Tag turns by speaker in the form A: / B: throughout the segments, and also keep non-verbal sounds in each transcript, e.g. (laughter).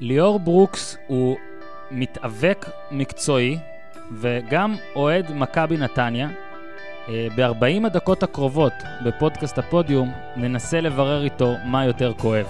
A: ליאור ברוקס הוא מתאבק מקצועי וגם אוהד מכבי נתניה. ב-40 הדקות הקרובות בפודקאסט הפודיום ננסה לברר איתו מה יותר כואב.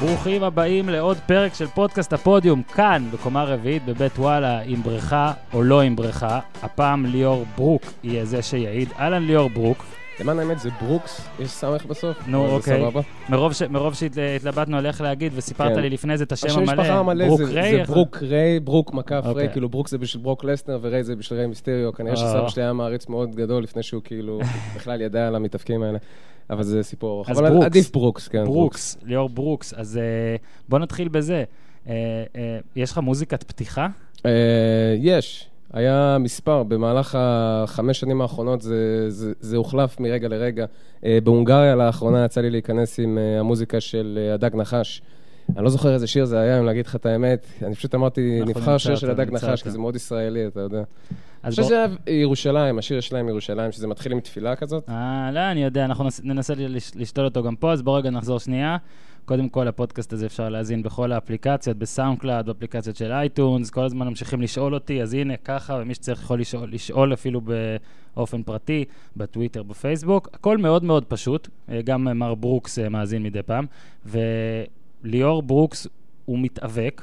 A: ברוכים הבאים לעוד פרק של פודקאסט הפודיום, כאן, בקומה רביעית בבית וואלה, עם בריכה או לא עם בריכה. הפעם ליאור ברוק יהיה זה שיעיד. אהלן ליאור ברוק.
B: למען האמת זה ברוקס, יש סמך בסוף.
A: נו,
B: אבל אה, זה
A: אוקיי.
B: סבבה.
A: מרוב, ש... מרוב שהתלבטנו על איך להגיד, וסיפרת
B: כן.
A: לי לפני זה את השם
B: השם
A: המלא.
B: המשפחה המלא זה-
A: ריי,
B: זה
A: איך-
B: ברוק ריי, ברוק מקף
A: אוקיי.
B: ריי, כאילו ברוק זה בשביל ברוק לסנר וריי זה בשביל ריי מיסטריו. כנראה
A: אה.
B: שסבא שלי היה מעריץ מאוד גדול לפני שהוא כאילו (laughs) בכלל ידע על המתאבקים האלה. אבל זה סיפור ארוך.
A: אז
B: אבל
A: ברוקס.
B: עדיף ברוקס, כן.
A: ברוקס, ליאור ברוקס. אז אה, בוא נתחיל בזה. אה, אה, יש לך מוזיקת פתיחה?
B: אה, יש. היה מספר, במהלך החמש שנים האחרונות זה, זה, זה הוחלף מרגע לרגע. אה, בהונגריה לאחרונה יצא לי להיכנס עם אה, המוזיקה של אה, הדג נחש. אני לא זוכר איזה שיר זה היה, אם להגיד לך את האמת. אני פשוט אמרתי,
A: אנחנו
B: נבחר
A: נמצא
B: שיר של
A: אותו,
B: הדג
A: נמצא
B: נחש,
A: אותו.
B: כי זה מאוד ישראלי, אתה יודע. אני
A: אז
B: חושב
A: בוא...
B: שזה היה ירושלים, השיר שלהם ירושלים, שזה מתחיל עם תפילה כזאת.
A: אה, לא, אני יודע, אנחנו נס- ננסה ל- לש- לשתול אותו גם פה, אז בוא רגע נחזור שנייה. קודם כל, הפודקאסט הזה אפשר להאזין בכל האפליקציות, בסאונדקלאד, באפליקציות של אייטונס, כל הזמן ממשיכים לשאול אותי, אז הנה, ככה, ומי שצריך יכול לשאול, לשאול אפילו באופן פרטי, בטוויטר, בפייסבוק. הכל מאוד מאוד פשוט, אה, גם אה, מר ברוקס אה, מאזין מדי פעם, וליאור ברוקס הוא מתאבק.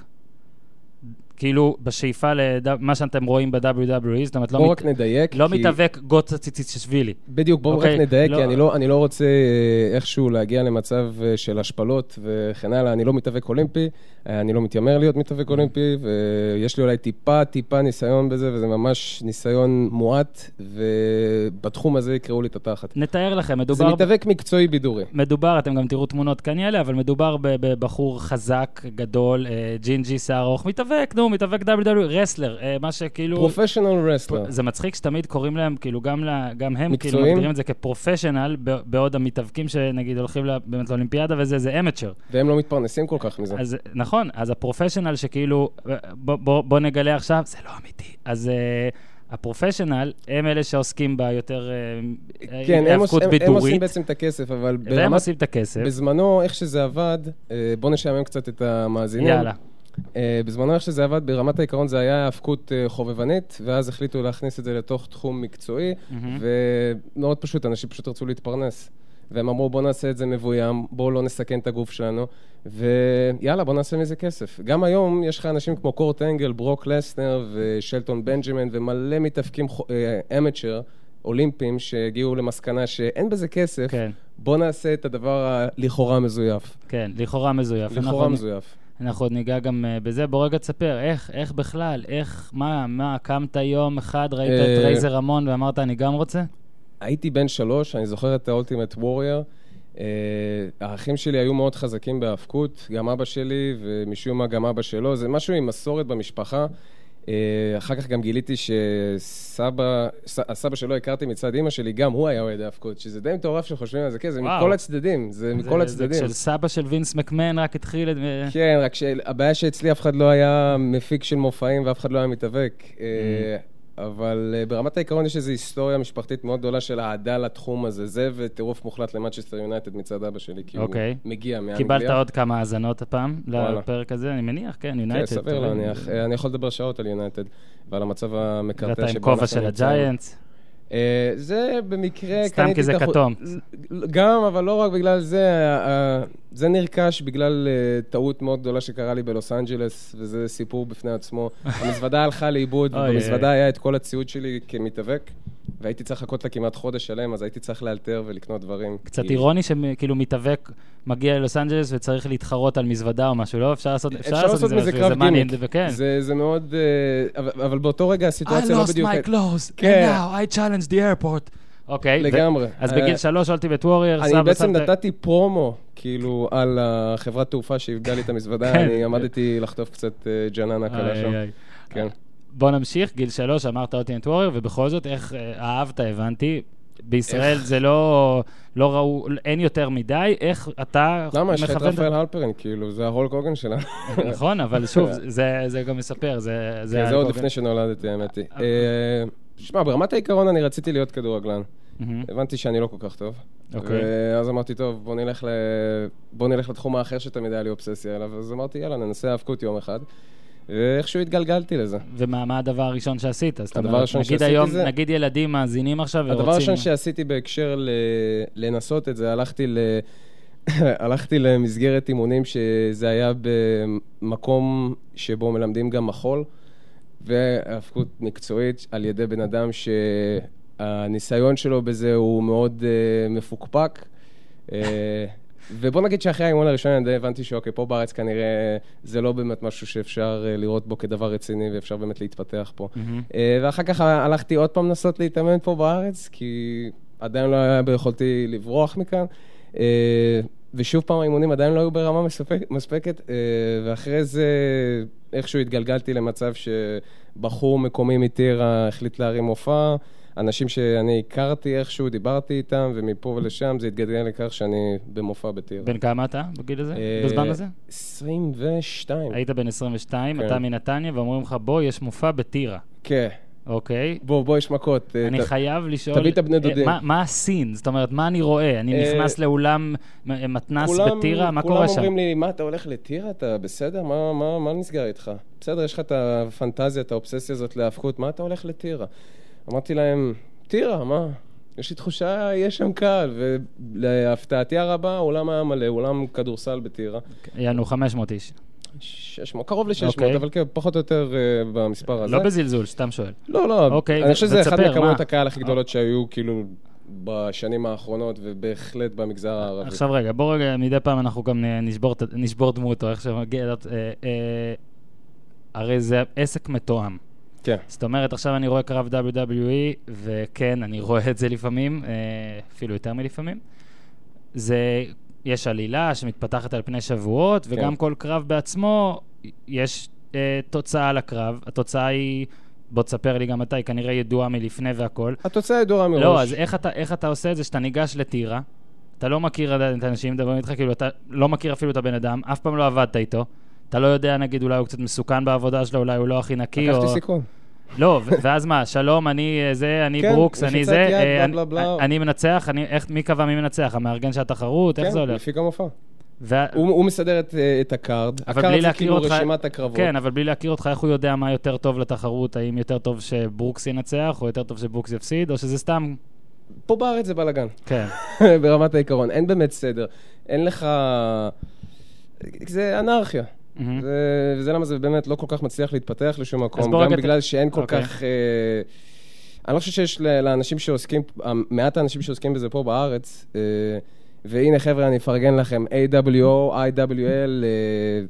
A: כאילו, בשאיפה למה שאתם רואים ב-WWE, זאת אומרת, לא,
B: בואו
A: מת...
B: רק נדייק.
A: לא
B: כי-
A: מתאבק גוטה ציציצ'שווילי.
B: בדיוק, בואו רק
A: אוקיי,
B: נדייק,
A: לא-
B: כי אני לא- אני לא רוצה אה, איכשהו להגיע למצב אה, של השפלות וכן הלאה. אני לא מתאבק אולימפי, אה, אני לא מתיימר להיות מתאבק אולימפי, ויש לי אולי טיפה טיפה ניסיון בזה, וזה ממש ניסיון מועט, ובתחום הזה יקראו לי את התחת.
A: נתאר לכם,
B: זה
A: מדובר,
B: מתאבק מקצועי בידורי.
A: מדובר, אתם גם תראו תמונות כאלה, אבל מדובר ב- בבחור חזק, גדול, אה, ג'ינג'י, שיער ארוך, מתאבק, נו, מתאבק WWE, רסלר, אה, מה שכאילו...
B: פרופשיונל רסלר.
A: זה מצחיק שתמיד קוראים להם, כאילו, גם, ל, גם הם, כאילו,
B: מקצועיים?
A: מגדירים את זה כפרופשיונל, ב- בעוד המתאבקים שנגיד הולכים לה- באמת לאולימפיאדה וזה, זה אמצ'ר.
B: והם לא מתפרנסים כל כך מזה.
A: אז נכון, אז הפרופשיונל שכאילו, בוא, בוא, בוא נגלה עכשיו, זה לא אמיתי. אז אה, הפרופשיונל, הם אלה שעוסקים בה יותר אה,
B: כן, הם עוש-
A: היאבקות
B: הם- הם עושים
A: בידורית,
B: בעצם את הכסף, אבל
A: והם
B: ברמת...
A: עושים את הכסף.
B: בזמנו, איך שזה עבד, אה, בואו נשעמם קצת את המאזינים.
A: יאללה.
B: אה, בזמנו איך שזה עבד, ברמת העיקרון זה היה האבקות אה, חובבנית, ואז החליטו להכניס את זה לתוך תחום מקצועי,
A: מהמם.
B: ומאוד פשוט, אנשים פשוט רצו להתפרנס. והם אמרו, בואו נעשה את זה מבוים, בואו לא נסכן את הגוף שלנו, ויאללה, בואו נעשה מזה כסף. גם היום יש לך אנשים כמו קורט אנגל, ברוק לסנר ושלטון בנג'מן, ומלא מתאפקים אמצ'ר, אולימפיים, שהגיעו למסקנה שאין בזה כסף,
A: כן,
B: בואו נעשה את הדבר הלכאורה מזויף.
A: כן, לכאורה מזויף.
B: לכאורה
A: אנחנו-
B: מזויף.
A: אנחנו עוד ניגע גם אה, בזה. בוא רגע תספר, איך, איך בכלל, איך, מה, מה, קמת יום אחד, ראית את
B: אה,
A: רייזר רמון ואמרת, אני גם רוצה?
B: הייתי בן שלוש, אני זוכר את האולטימט וורייר. האחים שלי היו מאוד חזקים בהאבקות, גם אבא שלי ומשום מה גם אבא שלו, זה משהו עם מסורת במשפחה. אה, אחר כך גם גיליתי שסבא, ס- הסבא שלו הכרתי מצד אימא שלי, גם הוא היה אוהד האבקות, שזה די מטורף שחושבים על זה, כן, זה
A: וואו.
B: מכל הצדדים, זה
A: זה-
B: מכל הצדדים.
A: זה של סבא של וינס מקמן רק התחיל את...
B: כן, רק שהבעיה שאצלי אף אחד לא היה מפיק של מופעים ואף אחד לא היה מתאבק. אה,
A: Mm-hmm.
B: אבל אה, ברמת העיקרון יש איזו היסטוריה משפחתית מאוד גדולה של אהדה לתחום הזה. זה וטירוף מוחלט למנצ'סטר יונייטד מצד אבא שלי, כי הוא
A: אוקיי.
B: מגיע כן, מאנגליה.
A: קיבלת עוד כמה האזנות הפעם
B: וואלה.
A: לפרק הזה, אני מניח, כן,
B: כן,
A: יונייטד.
B: סביר
A: אתה יודע.
B: להניח. אה, אני יכול לדבר שעות על יונייטד ועל המצב המקרטע שבו
A: ואתה עם
B: אנחנו
A: כובע של
B: נמצאים.
A: הג'יינטס.
B: אה, זה במקרה...
A: סתם
B: אה, קניתי
A: כי זה
B: את החו-
A: כתום.
B: גם, אבל לא רק בגלל זה, ה- ה- זה נרכש בגלל אה, טעות מאוד גדולה שקרה לי בלוס אנג'לס, וזה סיפור בפני
A: (laughs)
B: עצמו. המזוודה הלכה לאיבוד,
A: אוי,
B: ובמזוודה
A: אוי.
B: היה את כל הציוד שלי כמתאבק, והייתי צריך לחכות לה כמעט חודש שלם, אז הייתי צריך לאלתר ולקנות דברים. כאילו,
A: קצת
B: כי-
A: אירוני שכאילו מתאבק, מגיע ללוס אנג'לס וצריך להתחרות על מזוודה או משהו, לא? אפשר לעשות
B: אפשר לעשות מזה
A: בשביל
B: קרב
A: זה money
B: גימיק.
A: in the- כן.
B: זה זה מאוד... אה, אבל- אבל באותו רגע
A: I
B: הסיטואציה לא
A: lost
B: בדיוק...
A: my clothes, and
B: כן.
A: now I challenge the airport. אוקיי. ו-
B: לגמרי.
A: אז
B: אה,
A: בגיל שלוש עולתי בטוורייר,
B: אני
A: סבא
B: בעצם
A: סבתא...
B: נתתי פרומו, כאילו, על החברת תעופה שאיבדה לי את המזוודה,
A: כן.
B: אני עמדתי לחטוף קצת אה, ג'ננה קלה
A: איי,
B: שם.
A: איי.
B: כן.
A: בוא נמשיך, גיל שלוש אמרת אותי בטוורייר, ובכל זאת, איך אה, אהבת, הבנתי. בישראל זה לא, לא ראו, אין יותר מדי, איך אתה
B: למה? יש לך את
A: מכוון-
B: רפאל הלפרין, כאילו, זה ההולק הוגן שלנו.
A: נכון, אבל
B: (laughs)
A: שוב, זה, זה גם מספר, זה...
B: כן, (laughs) זה עוד
A: הגוגל.
B: לפני שנולדתי, האמת היא. אה, שמע, ברמת העיקרון אני רציתי להיות כדורגלן.
A: מהמם.
B: הבנתי שאני לא כל כך טוב.
A: אוקיי.
B: ואז אמרתי, טוב, בוא נלך, ל... בוא נלך לתחום האחר שתמיד היה לי אובססיה אליו. אז אמרתי, יאללה, ננסה האבקות יום אחד. ואיכשהו התגלגלתי לזה.
A: ומה מה הדבר הראשון שעשית? זאת
B: הדבר
A: אומרת,
B: הראשון
A: נגיד
B: שעשיתי
A: היום,
B: זה-
A: נגיד ילדים מאזינים עכשיו ורוצים...
B: הדבר הראשון שעשיתי בהקשר ל... לנסות את זה, הלכתי, ל... (laughs) הלכתי למסגרת אימונים שזה היה במקום שבו מלמדים גם מחול, והאבקות מקצועית על ידי בן אדם שהניסיון שלו בזה הוא מאוד uh, מפוקפק. אה, ובוא נגיד שאחרי האימון הראשון אני די הבנתי שאוקיי, פה בארץ כנראה זה לא באמת משהו שאפשר אה, לראות בו כדבר רציני ואפשר באמת להתפתח פה.
A: מהמם.
B: אה, ואחר כך הלכתי עוד פעם לנסות להתאמן פה בארץ, כי עדיין לא היה ביכולתי לברוח מכאן. אה, ושוב פעם, האימונים עדיין לא היו ברמה מספק- מספקת, אה, ואחרי זה איכשהו התגלגלתי למצב שבחור מקומי מטירה החליט להרים מופע. אנשים שאני הכרתי איכשהו, דיברתי איתם, ומפה ולשם זה התגלגל לכך שאני במופע בטירה.
A: בן כמה אתה בגיל הזה?
B: אה,
A: בזמן הזה?
B: 22.
A: היית בן 22,
B: כן.
A: אתה מנתניה, ואומרים לך, בוא, יש מופע בטירה.
B: כן.
A: אוקיי.
B: בוא, בוא, יש מכות. אה,
A: אני
B: ת-
A: חייב לשאול...
B: תביא את הבני
A: אה,
B: דודים.
A: מה- מה הסין? זאת אומרת, מה אני רואה? אני
B: אה,
A: נכנס לאולם אה, מתנ"ס
B: כולם-
A: בטירה? מה קורה
B: כולם
A: שם?
B: אומרים לי, מה, אתה הולך לטירה? אתה בסדר? מה, מה, מה נסגר איתך? בסדר, יש לך את הפנטזיה, את האובססיה הזאת להאבקות, מה אתה הולך לטירה? אמרתי להם, טירה, מה? יש לי תחושה, יש שם קהל. ולהפתעתי הרבה, האולם היה מלא, אולם כדורסל בטירה.
A: יענו 500 איש.
B: 600, קרוב ל-600,
A: אוקיי.
B: אבל כן, פחות או יותר אה, במספר הזה.
A: לא בזלזול, סתם שואל.
B: לא, לא.
A: אוקיי, ו-
B: אני חושב שזה אחד
A: ותספר,
B: מכמויות
A: מה? אה.
B: הקהל הכי גדולות שהיו, כאילו, בשנים האחרונות, ובהחלט במגזר הערבי.
A: עכשיו רגע, בוא רגע, מדי פעם אנחנו גם נ- נשבור, את- נשבור דמות, או איך שמגיע... להיות, אה, אה, הרי זה עסק מתואם.
B: כן.
A: זאת אומרת, עכשיו אני רואה קרב WWE, וכן, אני רואה את זה לפעמים, אה, אפילו יותר מלפעמים. זה, יש עלילה שמתפתחת על פני שבועות, וגם
B: כן.
A: כל קרב בעצמו, יש אה, תוצאה לקרב. התוצאה היא, בוא תספר לי גם אתה, היא כנראה ידועה מלפני והכל.
B: התוצאה ידועה מראש.
A: לא, אז איך אתה, איך אתה עושה את זה שאתה ניגש לטירה, אתה לא מכיר עדיין את האנשים מדברים איתך, כאילו אתה לא מכיר אפילו את הבן אדם, אף פעם לא עבדת איתו. אתה לא יודע, נגיד, אולי הוא קצת מסוכן בעבודה שלו, אולי הוא לא הכי נקי, או...
B: לקחתי סיכון.
A: לא, ו- ואז מה, שלום, אני אה, זה, אני
B: כן,
A: ברוקס, אני
B: לחיצת
A: זה,
B: יד,
A: אה,
B: בלה,
A: אני-
B: בלה, בלה.
A: אני מנצח, אני, איך, מי קבע מי מנצח? המארגן של התחרות? איך
B: כן,
A: זה הולך?
B: מפיק המופע.
A: ו-
B: הוא, הוא מסדר את, אה, את הקארד.
A: אבל בלי
B: הקארד זה
A: להכיר
B: כאילו
A: אותך...
B: רשימת הקרבות.
A: כן, אבל בלי להכיר אותך, איך הוא יודע מה יותר טוב לתחרות? האם יותר טוב שברוקס ינצח, או יותר טוב שברוקס יפסיד, או שזה סתם...
B: פה בארץ זה בלאגן, (laughs)
A: כן.
B: ברמת העיקרון. אין באמת סדר. אין לך... זה אנרכיה.
A: מהמם.
B: זה- וזה למה זה באמת לא כל כך מצליח להתפתח לשום מקום.
A: בוא
B: גם
A: רגע ת-
B: בגלל שאין כל
A: אוקיי.
B: כך... אה, אני לא חושב שיש ל- לאנשים שעוסקים, מעט האנשים שעוסקים בזה פה בארץ, אה, והנה חבר'ה, אני אפרגן לכם, AWO, IWL, אה,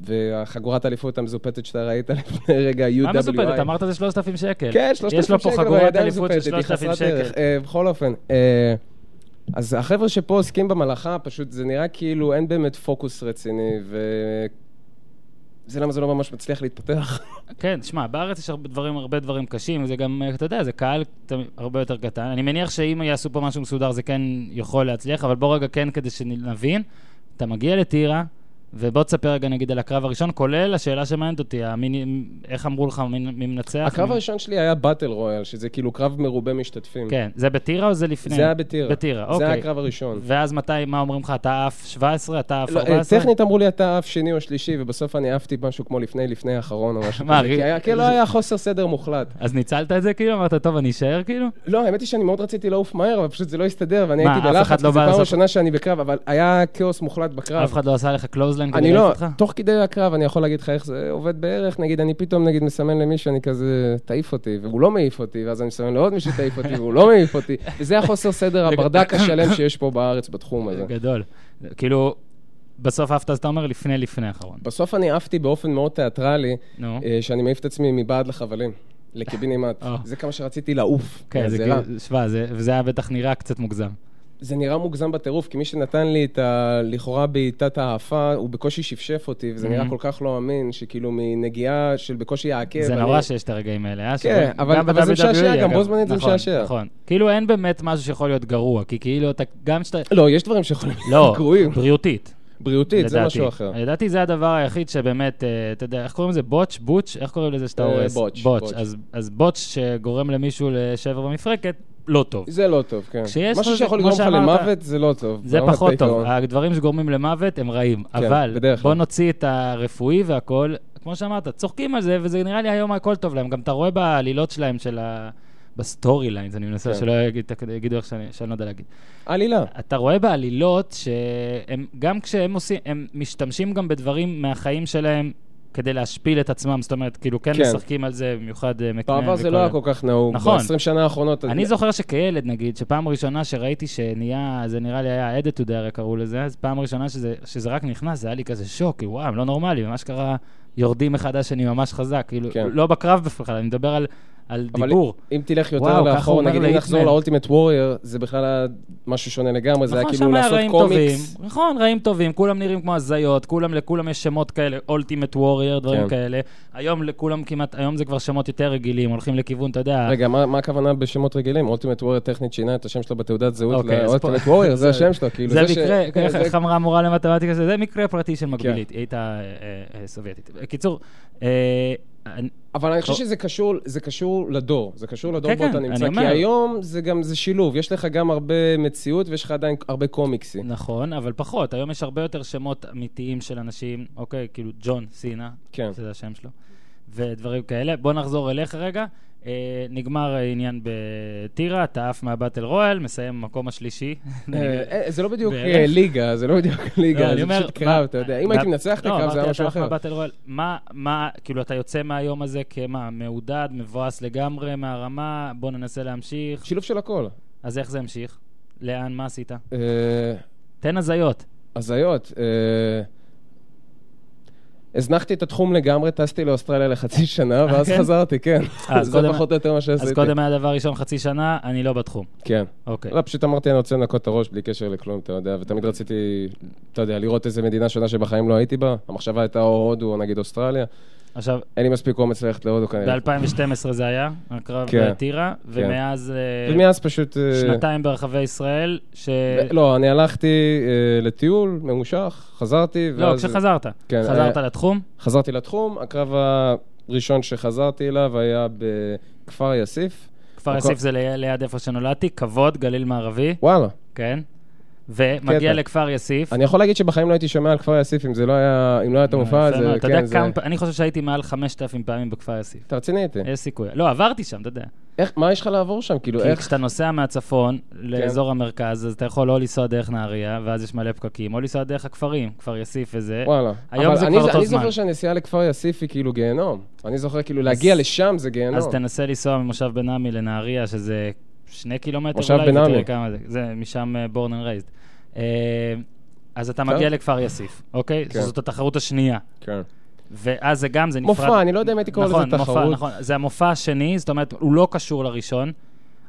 B: והחגורת האליפות המזופתת שאתה ראית לפני רגע, UWI.
A: מה מזופתת? אמרת זה 3,000 שקל.
B: כן, 3,000 שקל.
A: יש לו פה
B: אבל
A: חגורת
B: עדיין
A: אליפות של
B: מזופתת, היא
A: 3,000
B: חסרת
A: שקל.
B: ערך. אה, בכל אופן, אה, אז החבר'ה שפה עוסקים במלאכה, פשוט זה נראה כאילו אין באמת פוקוס רציני, ו... זה למה זה לא ממש
A: (laughs)
B: מצליח להתפתח.
A: כן, תשמע, בארץ יש הרבה דברים, הרבה דברים קשים, זה גם, אתה יודע, זה קהל ת- הרבה יותר קטן. אני מניח שאם יעשו פה משהו מסודר זה כן יכול להצליח, אבל בוא רגע כן, כדי שנבין. אתה מגיע לטירה, ובוא תספר רגע נגיד על הקרב הראשון, כולל השאלה שמעניינת אותי, המי- איך אמרו לך, מי מי מנצח?
B: הקרב
A: מי-
B: הראשון שלי היה באטל רויאל, שזה כאילו קרב מרובה משתתפים.
A: כן, זה בטירה או זה לפני?
B: זה היה בטירה.
A: בטירה,
B: זה היה
A: אוקיי.
B: הקרב הראשון.
A: ואז מתי, מה אומרים לך, אתה עף 17, אתה עף
B: לא, אה,
A: 14?
B: טכנית אמרו לי אתה אף שני או שלישי, ובסוף אני עפתי משהו כמו לפני לפני האחרון או משהו
A: מה,
B: כזה.
A: רי-
B: כי היה- כי לא
A: זה-
B: היה חוסר סדר מוחלט.
A: אז ניצלת את זה כאילו? אמרת, טוב, אני אשאר כאילו?
B: לא, האמת היא שאני מאוד רציתי לעוף מהר, אבל פשוט זה לא הסתדר, ואני
A: מה,
B: הייתי
A: אף אחד
B: בלחץ,
A: לא
B: כי זו
A: בא
B: פעם
A: לעשות-
B: ראשונה שאני בקרב, אבל היה כאוס מוחלט
A: אף
B: בקרב.
A: אחד לא עשה לך קלוזליין כדי
B: אני לא,
A: להעיף אותך?
B: תוך כדי הקרב אני יכול להגיד לך איך זה עובד בערך, נגיד אני פתאום נגיד מסמן למישהו, אני כזה, תעיף אותי, והוא לא מעיף אותי, ואז אני מסמן לעוד מישהו, תעיף אותי, והוא לא מעיף אותי, וזה החוסר סדר, הברדק השלם שיש פה בארץ בתחום הזה.
A: גדול. כאילו, בסוף עפת, אז אתה אומר לפני לפני האחרון.
B: בסוף אני עפתי באופן מאוד תיאטרלי,
A: נו.
B: אה, שאני מעיף את עצמי מבעד לחבלים, לקיבינימט.
A: אה.
B: אה, זה כמה שרציתי לעוף.
A: כן, זה
B: רע.
A: כאילו, שמע, זה- וזה היה בטח נראה קצת מוגזם.
B: זה נראה מוגזם בטירוף, כי מי שנתן לי את ה... לכאורה בעיטת העפה, הוא בקושי שפשף אותי, וזה נראה
A: Mhm.
B: כל כך לא אמין, שכאילו מנגיעה של בקושי העקב...
A: זה
B: אני-
A: נורא שיש את הרגעים האלה, אה?
B: כן,
A: שגם
B: אבל-
A: ב-
B: אבל זה
A: WWE,
B: משעשע, גם
A: אגב.
B: בו זמנית זה
A: נכון,
B: משעשע.
A: נכון. כאילו אין באמת משהו שיכול להיות גרוע, כי כאילו אתה, גם שאתה...
B: לא, יש דברים שיכולים
A: לא,
B: להיות (laughs) גרועים.
A: בריאותית.
B: בריאותית, זה
A: לדעתי.
B: משהו אחר.
A: לדעתי זה הדבר היחיד שבאמת, אה, אתה יודע, איך קוראים לזה? בוטש? בוטש? איך קוראים לזה שאתה
B: אה,
A: הורס?
B: בוטש,
A: בוטש.
B: בוטש.
A: אז- אז בוטש שגורם למישהו לשבר במפרקת, לא טוב.
B: זה לא טוב, כן.
A: כשיש
B: משהו
A: לך-
B: שיכול
A: כמו
B: לגרום לך
A: שאמרת-
B: למוות, זה לא טוב.
A: זה
B: ברמת
A: פחות טוב. אה,
B: העיקרון.
A: הדברים שגורמים למוות הם רעים.
B: כן,
A: אבל
B: בדרך
A: בוא
B: כלל.
A: נוציא את הרפואי והכול. כמו שאמרת, צוחקים על זה, וזה נראה לי היום הכל טוב להם. גם אתה רואה בעלילות שלהם של ה... בסטורי ליינס, אני מנסה
B: כן.
A: שלא יגיד- יגידו איך שאני שאני לא יודע להגיד.
B: עלילה.
A: אתה רואה בעלילות שהם, גם כשהם עושים, הם משתמשים גם בדברים מהחיים שלהם כדי להשפיל את עצמם. זאת אומרת, כאילו כן
B: כן.
A: משחקים על זה, במיוחד אה, מקנן.
B: בעבר זה
A: וכל
B: לא היה
A: ה-
B: כל כך נהוג.
A: נכון.
B: ב-20 שנה האחרונות...
A: אני זוכר שכילד, נגיד, שפעם ראשונה שראיתי שנהיה, זה נראה לי היה added to the air קראו לזה, אז פעם ראשונה שזה, שזה רק נכנס, זה היה לי כזה שוק, כי וואו, הם לא נורמלים, ממש קרה, יורדים אחד לשני ממש חזק, כאילו,
B: כן.
A: לא בקרב בכלל, אני מדבר על, על
B: אבל
A: דיבור.
B: אם תלך יותר
A: וואו, ככה הוא
B: לאחור,
A: אומר
B: נגיד אם
A: ל-Hitman.
B: נחזור ל-Ultimate Warrior, זה בכלל היה משהו שונה לגמרי, זה היה
A: נכון,
B: כאילו
A: שם היה
B: לעשות
A: רעים
B: קומיקס.
A: טובים, נכון, רעים טובים, כולם נראים כמו הזיות, כולם, לכולם יש שמות כאלה, אולטימט וורייר, דברים
B: כן.
A: כאלה. היום לכולם כמעט, היום זה כבר שמות יותר רגילים, הולכים לכיוון, אתה יודע,
B: רגע, מה מה הכוונה בשמות רגילים? Ultimate Warrior טכנית שינה את השם שלו בתעודת זהות
A: אוקיי, אז פה-
B: ל-Ultimate Warrior, זה השם שלו, כאילו.
A: זה
B: ש-
A: מקרה,
B: כן,
A: איך-
B: זה- כן.
A: איך אמרה המורה למתמטיקה, זה זה מקרה פרטי של מקבילית, היא הייתה אה, אה, סובייטית. בקיצור, אה, אני-
B: אבל אני חושב
A: טוב.
B: שזה קשור, זה קשור לדור, זה קשור לדור
A: כן,
B: בו
A: כן,
B: אתה
A: אני
B: נמצא,
A: אומר.
B: כי היום זה גם, זה שילוב, יש לך גם הרבה מציאות ויש לך עדיין הרבה קומיקסים.
A: נכון, אבל פחות, היום יש הרבה יותר שמות אמיתיים של אנשים, אוקיי, כאילו ג'ון סינה,
B: כן.
A: שזה השם שלו, ודברים כאלה. בוא נחזור אליך רגע. אה, נגמר העניין בטירה, אתה עף מהבטל רואל, מסיים במקום השלישי.
B: אה, אה, זה לא בדיוק
A: בערך.
B: אה, ליגה, זה לא בדיוק
A: לא,
B: ליגה,
A: אני
B: זה
A: אומר,
B: פשוט
A: מה-
B: קרב, אתה יודע. אם
A: מה-
B: הייתי מנצח את
A: לא,
B: הקרב, זה היה
A: אמרתי,
B: משהו
A: אתה
B: אחר.
A: בבטל רואל. מה, מה, כאילו, אתה יוצא מהיום הזה כמה, מעודד, מבואס לגמרי מהרמה, בוא ננסה להמשיך.
B: שילוב של הכל.
A: אז איך זה המשיך? לאן, מה עשית?
B: אה,
A: תן הזיות.
B: הזיות. אה, הזנחתי את התחום לגמרי, טסתי לאוסטרליה לחצי שנה,
A: אה,
B: ואז
A: כן?
B: חזרתי, כן.
A: אה, אז
B: זה
A: קודם-
B: פחות או יותר מה שעשיתי.
A: אז קודם היה דבר ראשון חצי שנה, אני לא בתחום.
B: כן.
A: אוקיי.
B: לא, פשוט אמרתי, אני רוצה לנקות את הראש בלי קשר לכלום, אתה יודע, ותמיד רציתי, אתה יודע, לראות איזה מדינה שונה שבחיים לא הייתי בה. המחשבה הייתה או הודו או נגיד אוסטרליה.
A: עכשיו,
B: אין לי מספיק אומץ ללכת להודו כנראה.
A: ב-2012 זה היה, הקרב
B: כן.
A: בטירה, ומאז אה,
B: ומאז פשוט... אה,
A: שנתיים אה, ברחבי ישראל, ש...
B: ו- לא, אני הלכתי אה, לטיול ממושך, חזרתי,
A: לא,
B: ואז
A: כשחזרת.
B: כן,
A: חזרת
B: אה,
A: לתחום?
B: חזרתי לתחום. הקרב הראשון שחזרתי אליו היה בכפר יאסיף.
A: כפר
B: הכל-
A: יאסיף זה לי- ליד איפה שנולדתי, כבוד, גליל מערבי.
B: וואלה.
A: כן. ומגיע
B: קטע.
A: לכפר יאסיף.
B: אני יכול להגיד שבחיים לא הייתי שומע על כפר יאסיף אם זה לא היה, אם לא היה את המופע
A: אה, יפה מאוד.
B: הזה.
A: אתה
B: כן,
A: יודע
B: זה-
A: כמה... פ- אני חושב שהייתי מעל 5,000 פעמים בכפר יאסיף.
B: אתה רציני איתי.
A: יש סיכוי. לא, עברתי שם, אתה יודע.
B: איך- מה יש לך לעבור שם? כן. כאילו,
A: כי
B: איך... כן.
A: כשאתה נוסע מהצפון לאזור המרכז, אז אתה יכול או לנסוע דרך נהריה, ואז יש מלא פקקים, או לנסוע דרך הכפרים, כפר יאסיף וזה.
B: וואלה.
A: אה, היום
B: אבל
A: זה
B: אני-
A: כבר אותו
B: אני
A: זמן.
B: זוכר שהנסיעה לכפר יאסיף היא כאילו גיהנום. אני זוכר כאילו להגיע לשם זה
A: אז
B: גיהנום.
A: תנסה לנסוע ממושב בן עמי לנהריה, שזה שני קילומטר
B: מושב
A: אולי,
B: בן
A: ותראה
B: עמי.
A: כמה זה. זה משם אה, בורן אנד רייזד. אה, אז אתה
B: טוב.
A: מגיע לכפר יאסיף, אוקיי?
B: כן.
A: זאת התחרות השנייה.
B: כן.
A: ואז זה גם, זה נפרד.
B: מופע, אני לא יודע אם הייתי קורא לזה
A: נכון, מופע,
B: תחרות.
A: נכון, זה המופע השני, זאת אומרת, הוא לא קשור לראשון.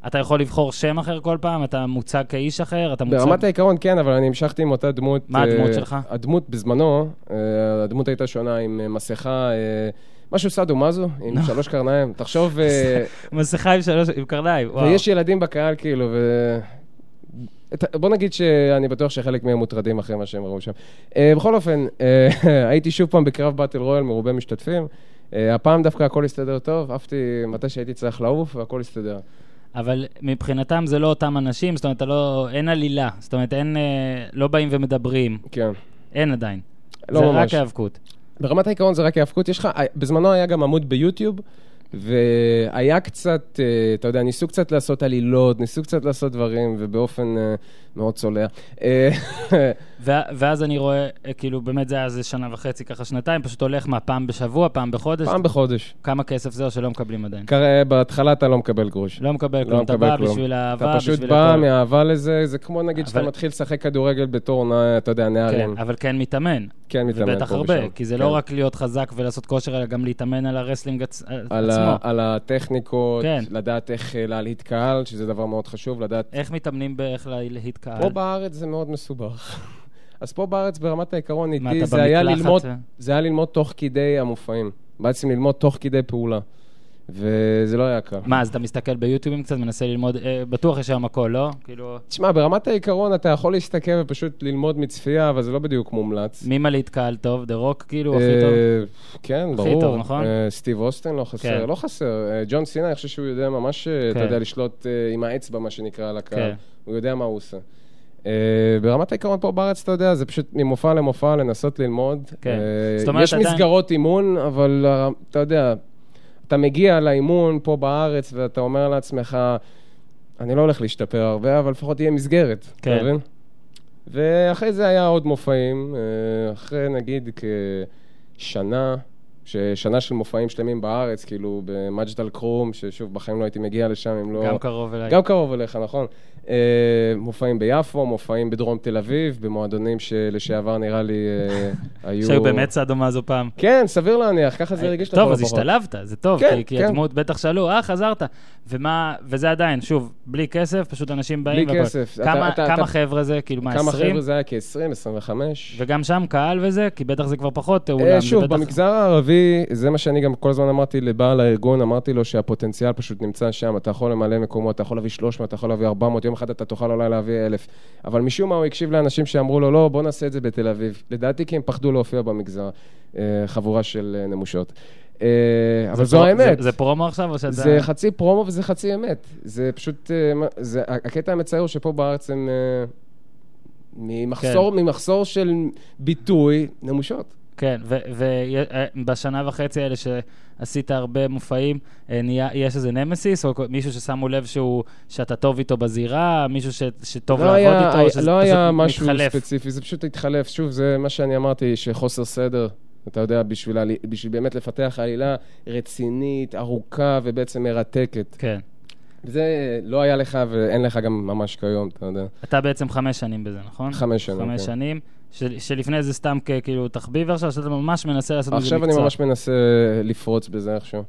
A: אתה יכול לבחור שם אחר כל פעם, אתה מוצג כאיש אחר, אתה מוצג...
B: ברמת העיקרון כן, אבל אני המשכתי עם אותה דמות.
A: מה הדמות
B: אה,
A: שלך?
B: הדמות בזמנו, אה, הדמות הייתה שונה עם אה, מסכה, אה, משהו סאדו מאזו, עם שלוש קרניים.
A: (laughs)
B: תחשוב, אה,
A: מסכה עם שלוש, עם קרניים, וואו.
B: ויש ילדים בקהל כאילו, ו... את- בוא נגיד שאני בטוח שחלק מהם מוטרדים אחרי מה שהם ראו שם. אה, בכל אופן, אה, (laughs) הייתי שוב פעם בקרב באטל רויאל מרובה משתתפים. אה, הפעם דווקא הכל הסתדר טוב, עפתי מתי שהייתי צריך לעוף והכל הסתדר.
A: אבל מבחינתם זה לא אותם אנשים, זאת אומרת, אתה לא... אין עלילה. זאת אומרת, אין... אה, לא באים ומדברים.
B: כן.
A: אין עדיין.
B: לא
A: זה
B: ממש.
A: רק היאבקות.
B: ברמת העיקרון זה רק היאבקות. יש לך, אה, בזמנו היה גם עמוד ביוטיוב, והיה קצת, אה, אתה יודע, ניסו קצת לעשות עלילות, ניסו קצת לעשות דברים, ובאופן אה, מאוד צולע. אה, (laughs)
A: ו- ואז אני רואה, אה, כאילו, באמת זה היה איזה שנה וחצי, ככה שנתיים, פשוט הולך מה, פעם בשבוע, פעם בחודש,
B: פעם בחודש.
A: כמה כסף זה או שלא מקבלים עדיין.
B: כר- בהתחלה אתה לא מקבל גרוש.
A: לא מקבל כלום, אתה
B: מקבל
A: בא
B: כלום.
A: בשביל האהבה,
B: אתה פשוט
A: בשביל
B: בא
A: הכל.
B: מאהבה לזה, זה כמו נגיד שאתה
A: אבל-
B: מתחיל לשחק כדורגל בתור, נע- אתה יודע,
A: כן,
B: נערים.
A: אבל כן מתאמן.
B: כן, מתאמן פה
A: ובטח הרבה,
B: ושם.
A: כי זה
B: כן.
A: לא רק להיות חזק ולעשות כושר, אלא גם להתאמן על הרסלינג עצ-
B: על
A: עצמו, עצמו.
B: על הטכניקות,
A: כן.
B: לדעת איך אה, להלהיט קהל, שזה דבר מאוד חשוב, לדעת...
A: איך מתאמנים באיך להלהיט קהל?
B: פה בארץ זה מאוד מסובך. (laughs) אז פה בארץ, ברמת העיקרון
A: מה,
B: איתי,
A: אתה
B: זה היה
A: במקלחת?
B: ללמוד זה היה ללמוד תוך כדי המופעים. בעצם ללמוד תוך כדי פעולה. וזה לא היה קל.
A: מה, אז אתה מסתכל ביוטיובים קצת, מנסה ללמוד, אה, בטוח יש שם הכל, לא? כאילו,
B: תשמע, ברמת העיקרון אתה יכול להסתכל ופשוט ללמוד מצפייה, אבל זה לא בדיוק מומלץ.
A: מי מלהיט קהל טוב? דה רוק, כאילו, הכי טוב?
B: אה, כן, ברור.
A: טוב, נכון?
B: אה, סטיב אוסטן לא חסר,
A: כן.
B: לא חסר. אה, ג'ון סינה, אני חושב שהוא יודע ממש, אה, אתה
A: כן.
B: יודע, לשלוט אה, עם האצבע, מה שנקרא, על הקהל.
A: כן.
B: הוא יודע מה הוא עושה. אה, ברמת העיקרון פה בארץ, אתה יודע, זה פשוט ממופע למופע לנסות ללמוד.
A: כן.
B: אה,
A: זאת אומרת,
B: יש
A: עדיין-
B: מסגרות אימון, אבל אה, אתה יודע, אתה מגיע לאימון פה בארץ ואתה אומר לעצמך, אני לא הולך להשתפר הרבה, אבל לפחות תהיה מסגרת,
A: כן.
B: אתה מבין? ואחרי זה היה עוד מופעים, אה, אחרי נגיד כשנה, שנה של מופעים שלמים בארץ, כאילו במג'ד אל-כרום, ששוב, בחיים לא הייתי מגיע לשם אם לא...
A: גם קרוב אליי.
B: גם קרוב אליך, נכון. אה, מופעים ביפו, מופעים בדרום תל אביב, במועדונים שלשעבר נראה לי
A: (laughs)
B: אה, היו...
A: שהיו במצע דומה זו פעם.
B: כן, סביר להניח, ככה זה הרגיש לך
A: אה, טוב, אז השתלבת, זה טוב,
B: כן,
A: כי- כי
B: כן.
A: הדמות בטח שאלו, אה, חזרת. ומה, וזה עדיין, שוב, בלי כסף, פשוט אנשים באים.
B: בלי
A: והכל.
B: כסף. אתה-
A: כמה-
B: אתה-
A: כמה
B: אתה-
A: חבר'ה זה, כאילו, מה,
B: כמה
A: 20?
B: חבר'ה זה היה? כ-20, 25.
A: וגם שם קהל וזה, כי בטח זה כבר פחות
B: אה,
A: אולם. זה
B: שוב,
A: בטח-
B: במגזר הערבי, זה מה שאני גם כל הזמן אמרתי לבעל הארגון, אמרתי לו שהפוטנציאל פשוט נמצא שם, אתה יכול למלא מקומות, אתה יכול להביא 300, אתה יכול להביא 400, יום אחד אתה תוכל אולי להביא 1,000. אבל משום מה הוא הקשיב לאנשים שאמרו לו, לא, בוא נעשה את זה בתל אביב. לדעתי כי הם פחדו להופיע במגזר, אה, חבורה של אה, נמושות. אה, אבל
A: זה
B: זו
A: פרו-
B: האמת.
A: זה- זה פרומו עכשיו, או שאתה...
B: זה חצי פרומו וזה חצי אמת. זה פשוט... אה, מה- זה, הקטע המצער הוא שפה בארץ הם... אה, ממחסור, ממחסור של ביטוי, נמושות.
A: כן, ובשנה וחצי האלה שעשית הרבה מופעים, אה, נהיה- יש איזה נמסיס, או כל- מישהו ששמו לב שהוא, שאתה טוב איתו בזירה, מישהו ש- שטוב
B: לא
A: לעבוד
B: היה-
A: איתו, או שזה
B: לא היה
A: פשוט
B: משהו
A: מתחלף.
B: ספציפי, זה פשוט התחלף. שוב, זה מה שאני אמרתי, שחוסר סדר, אתה יודע, בשביל, העלי- בשביל באמת לפתח עלילה רצינית, ארוכה ובעצם מרתקת.
A: כן.
B: זה לא היה לך ואין לך גם ממש כיום, אתה יודע.
A: אתה בעצם חמש שנים בזה, נכון?
B: חמש שנים,
A: חמש
B: כן.
A: שנים, של- שלפני זה סתם כ- כאילו תחביב עכשיו, שאתה ממש מנסה לעשות מזה מקצוע.
B: עכשיו אני ממש מנסה לפרוץ בזה איכשהו.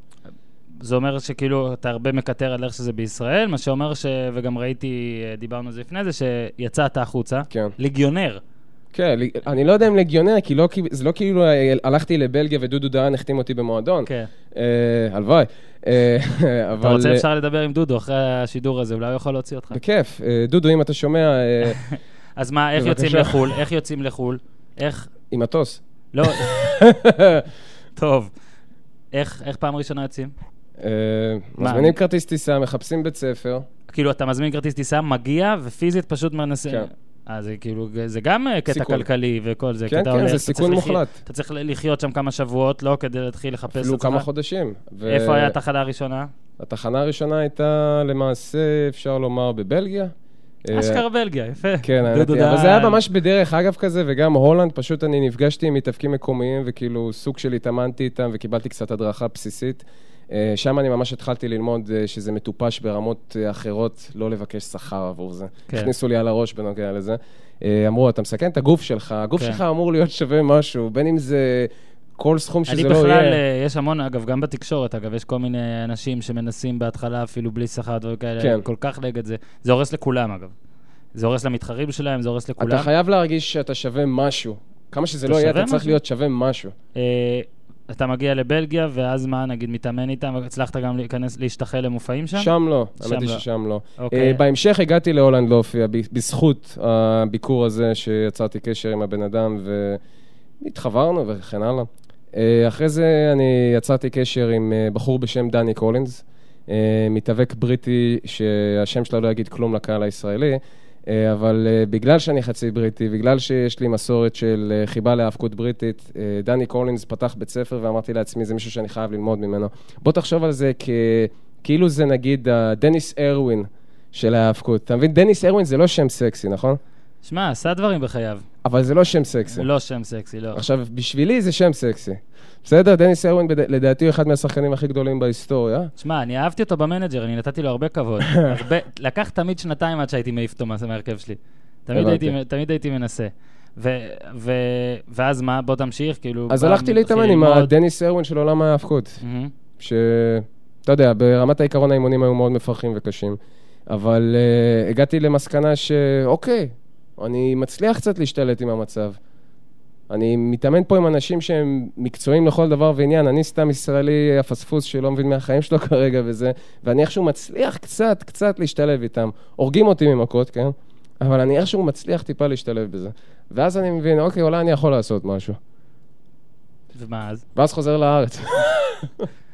A: זה אומר שכאילו אתה הרבה מקטר על איך שזה בישראל, מה שאומר ש... וגם ראיתי, אה, דיברנו על זה לפני זה, שיצאת החוצה.
B: כן.
A: ליגיונר.
B: כן, לי- אני לא יודע אם לגיונר, כי לא, כי- זה לא כאילו אה, הלכתי לבלגיה ודודו דהן החתים אותי במועדון.
A: כן.
B: אה, הלוואי. אה, (laughs) אבל...
A: אתה רוצה,
B: אה,
A: אפשר לדבר עם דודו אחרי השידור הזה, אולי הוא יכול להוציא אותך.
B: בכיף. אה, דודו, אם אתה שומע, אה,
A: אז מה, איך יוצאים
B: בבקשה.
A: לחו"ל? איך יוצאים לחו"ל? איך...
B: עם מטוס. (laughs)
A: לא... טוב. איך איך פעם ראשונה יוצאים?
B: אה,
A: מה?
B: מזמינים כרטיס טיסה, מחפשים בית ספר.
A: כאילו, אתה מזמין כרטיס טיסה, מגיע, ופיזית פשוט מנסה...
B: כן.
A: אה, זה כאילו, זה גם אה, קטע
B: סיכון.
A: כלכלי וכל זה.
B: כן,
A: כי אתה
B: כן,
A: הולך,
B: זה
A: אתה צריך
B: סיכון
A: לחי-
B: מוחלט.
A: אתה צריך לחיות שם כמה שבועות, לא? כדי להתחיל לחפש את עצמך.
B: אפילו כמה חודשים. ו-
A: איפה היה התחנה הראשונה?
B: התחנה הראשונה הייתה למעשה, אפשר לומר, בבלגיה. אה,
A: אשכרה בלגיה, יפה.
B: כן, האמת
A: דודו
B: היא, אבל
A: דן.
B: זה היה ממש בדרך אגב כזה, וגם הולנד, פשוט אני נפגשתי עם מתאבקים מקומיים, וכאילו סוג של התאמנתי איתם, וקיבלתי קצת הדרכה בסיסית. אה, שם אני ממש התחלתי ללמוד אה, שזה מטופש ברמות אה, אחרות, לא לבקש שכר עבור זה.
A: כן.
B: הכניסו לי על הראש בנוגע לזה. אה, אמרו, אתה מסכן את הגוף שלך, הגוף
A: כן.
B: שלך אמור להיות שווה משהו, בין אם זה כל סכום שזה
A: אני
B: לא יהיה.
A: בכלל, אה, יש המון, אגב, גם בתקשורת, אגב, יש כל מיני אנשים שמנסים בהתחלה אפילו בלי שכר, דברים כאלה,
B: כן.
A: אני כל כך נגד זה. זה הורס לכולם, אגב. זה הורס למתחרים שלהם, זה הורס
B: אתה
A: לכולם.
B: חייב להרגיש שאתה שווה משהו. כמה שזה
A: אתה
B: לא יהיה,
A: שווה
B: אתה צריך
A: משהו?
B: להיות שווה משהו.
A: אה, אתה מגיע לבלגיה, ואז מה, נגיד, מתאמן איתם, הצלחת גם להיכנס, להשתחל למופעים שם?
B: שם לא,
A: שם
B: האמת היא
A: לא.
B: ששם לא.
A: אוקיי.
B: אה, בהמשך הגעתי להולנד להופיע, ב- בזכות הביקור הזה שיצרתי קשר עם הבן אדם והתחברנו וכן הלאה. אה, אחרי זה אני יצרתי קשר עם אה, בחור בשם דני קולינס, אה, מתאבק בריטי שהשם שלו לא יגיד כלום לקהל הישראלי, אה, אבל אה, בגלל שאני חצי בריטי, בגלל שיש לי מסורת של אה, חיבה להאבקות בריטית, אה, דני קולינס פתח בית ספר ואמרתי לעצמי, זה מישהו שאני חייב ללמוד ממנו. בוא תחשוב על זה כ... כאילו זה נגיד אה, דניס ארווין של ההאבקות. אתה מבין? דניס ארווין זה לא שם סקסי, נכון?
A: שמע, עשה דברים בחייו.
B: אבל זה לא שם סקסי.
A: לא שם סקסי, לא.
B: עכשיו, בשבילי זה שם סקסי. בסדר? דניס ארווין בד- לדעתי הוא אחד מהשחקנים הכי גדולים בהיסטוריה.
A: שמע, אני אהבתי אותו במנג'ר, אני נתתי לו הרבה
B: (laughs)
A: כבוד. הרבה, לקח תמיד שנתיים עד שהייתי מעיף אותו מה- מההרכב שלי. תמיד
B: הבנתי.
A: הייתי, תמיד הייתי מנסה. ו, ו, ואז מה, בוא תמשיך, כאילו...
B: אז
A: פעם
B: הלכתי
A: התחיל
B: להתאמן עם
A: ללמוד.
B: הדניס ארווין של עולם ההאבקות,
A: מהמם.
B: שכן אתה יודע, ברמת העיקרון האימונים היו מאוד מפרכים וקשים, אבל uh, הגעתי למסקנה שאוקיי, אני מצליח קצת להשתלט עם המצב. אני מתאמן פה עם אנשים שהם מקצועיים לכל דבר ועניין, אני סתם ישראלי הפספוס שלא מבין מהחיים שלו (laughs) כרגע וזה, ואני איכשהו מצליח קצת, קצת להשתלב איתם. הורגים אותי ממכות, כן? אבל אני איכשהו מצליח טיפה להשתלב בזה. ואז אני מבין, אוקיי, אולי אני יכול לעשות משהו.
A: ומה אז?
B: ואז חוזר
A: (laughs)
B: לארץ.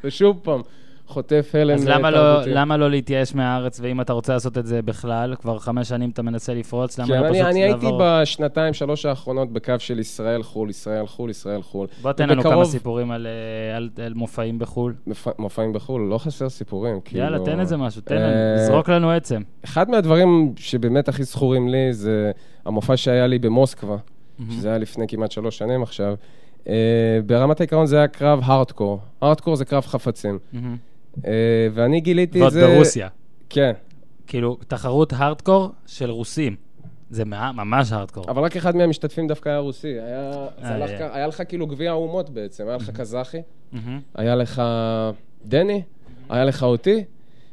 B: ושוב פעם, חוטף הלם
A: אז למה לא,
B: תרבותי.
A: למה לא להתייאש מהארץ, ואם אתה רוצה לעשות את זה בכלל, כבר חמש שנים אתה מנסה לפרוץ, למה
B: כן,
A: לא
B: אני,
A: פשוט
B: אני הייתי
A: לעבור?
B: בשנתיים, שלוש האחרונות בקו של ישראל, חו"ל, ישראל, חו"ל, ישראל, חו"ל.
A: בוא תן לנו כמה
B: ובקרוב-
A: סיפורים על, אה, על, על מופעים בחו"ל.
B: מופ- מופעים בחו"ל, לא חסר סיפורים. כאילו...
A: יאללה, תן איזה משהו, תן
B: אה,
A: לנו, זרוק לנו עצם.
B: אחד מהדברים שבאמת הכי זכורים לי זה המופע שהיה לי במוסקבה,
A: Mhm.
B: שזה היה לפני כמעט שלוש שנים עכשיו. אה, ברמת העיקרון זה היה קרב הארדקור. הארדקור זה קרב חפצים.
A: מהמם.
B: אה, ואני גיליתי את
A: ועוד
B: זה...
A: ברוסיה.
B: כן.
A: כאילו, תחרות הארדקור של רוסים. זה מה- ממש הארדקור.
B: אבל רק אחד מהמשתתפים דווקא היה רוסי. היה, זה
A: אה,
B: הלך
A: אה.
B: כ- היה לך כאילו גביע האומות בעצם, היה לך קזחי,
A: מהמם.
B: היה לך דני, היה לך אותי,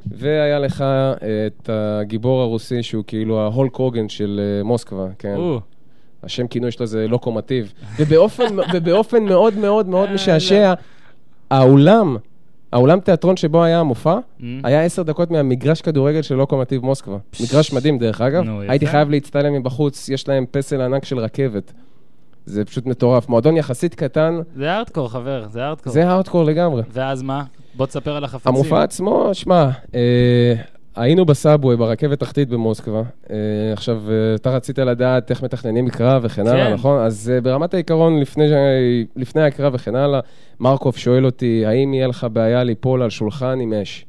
B: והיה לך אה, את הגיבור הרוסי שהוא כאילו ההולק הוגן של אה, מוסקבה, כן?
A: או,
B: השם כינוי שלו זה לוקומטיב. ובאופן, ובאופן מאוד מאוד
A: אה,
B: מאוד
A: לא.
B: משעשע, האולם, האולם תיאטרון שבו היה המופע,
A: מ?
B: היה עשר דקות מהמגרש כדורגל של לוקומטיב מוסקבה. מגרש מדהים, דרך אגב.
A: נו, יפה.
B: הייתי חייב להצטלם מבחוץ, יש להם פסל ענק של רכבת. זה פשוט מטורף. מועדון יחסית קטן,
A: זה הארדקור, חבר, זה הארדקור.
B: זה הארדקור לגמרי.
A: ואז מה? בוא תספר על החפצים.
B: המופע עצמו, שמע, אה, היינו בסאבווי, ברכבת תחתית במוסקבה. אה, עכשיו, אה, אתה רצית לדעת איך מתכננים קרב וכן הלאה,
A: כן.
B: נכון? אז אה, ברמת העיקרון, לפני, ש- לפני הקרב וכן הלאה, מרקוב שואל אותי, האם יהיה לך בעיה ליפול על שולחן עם אש?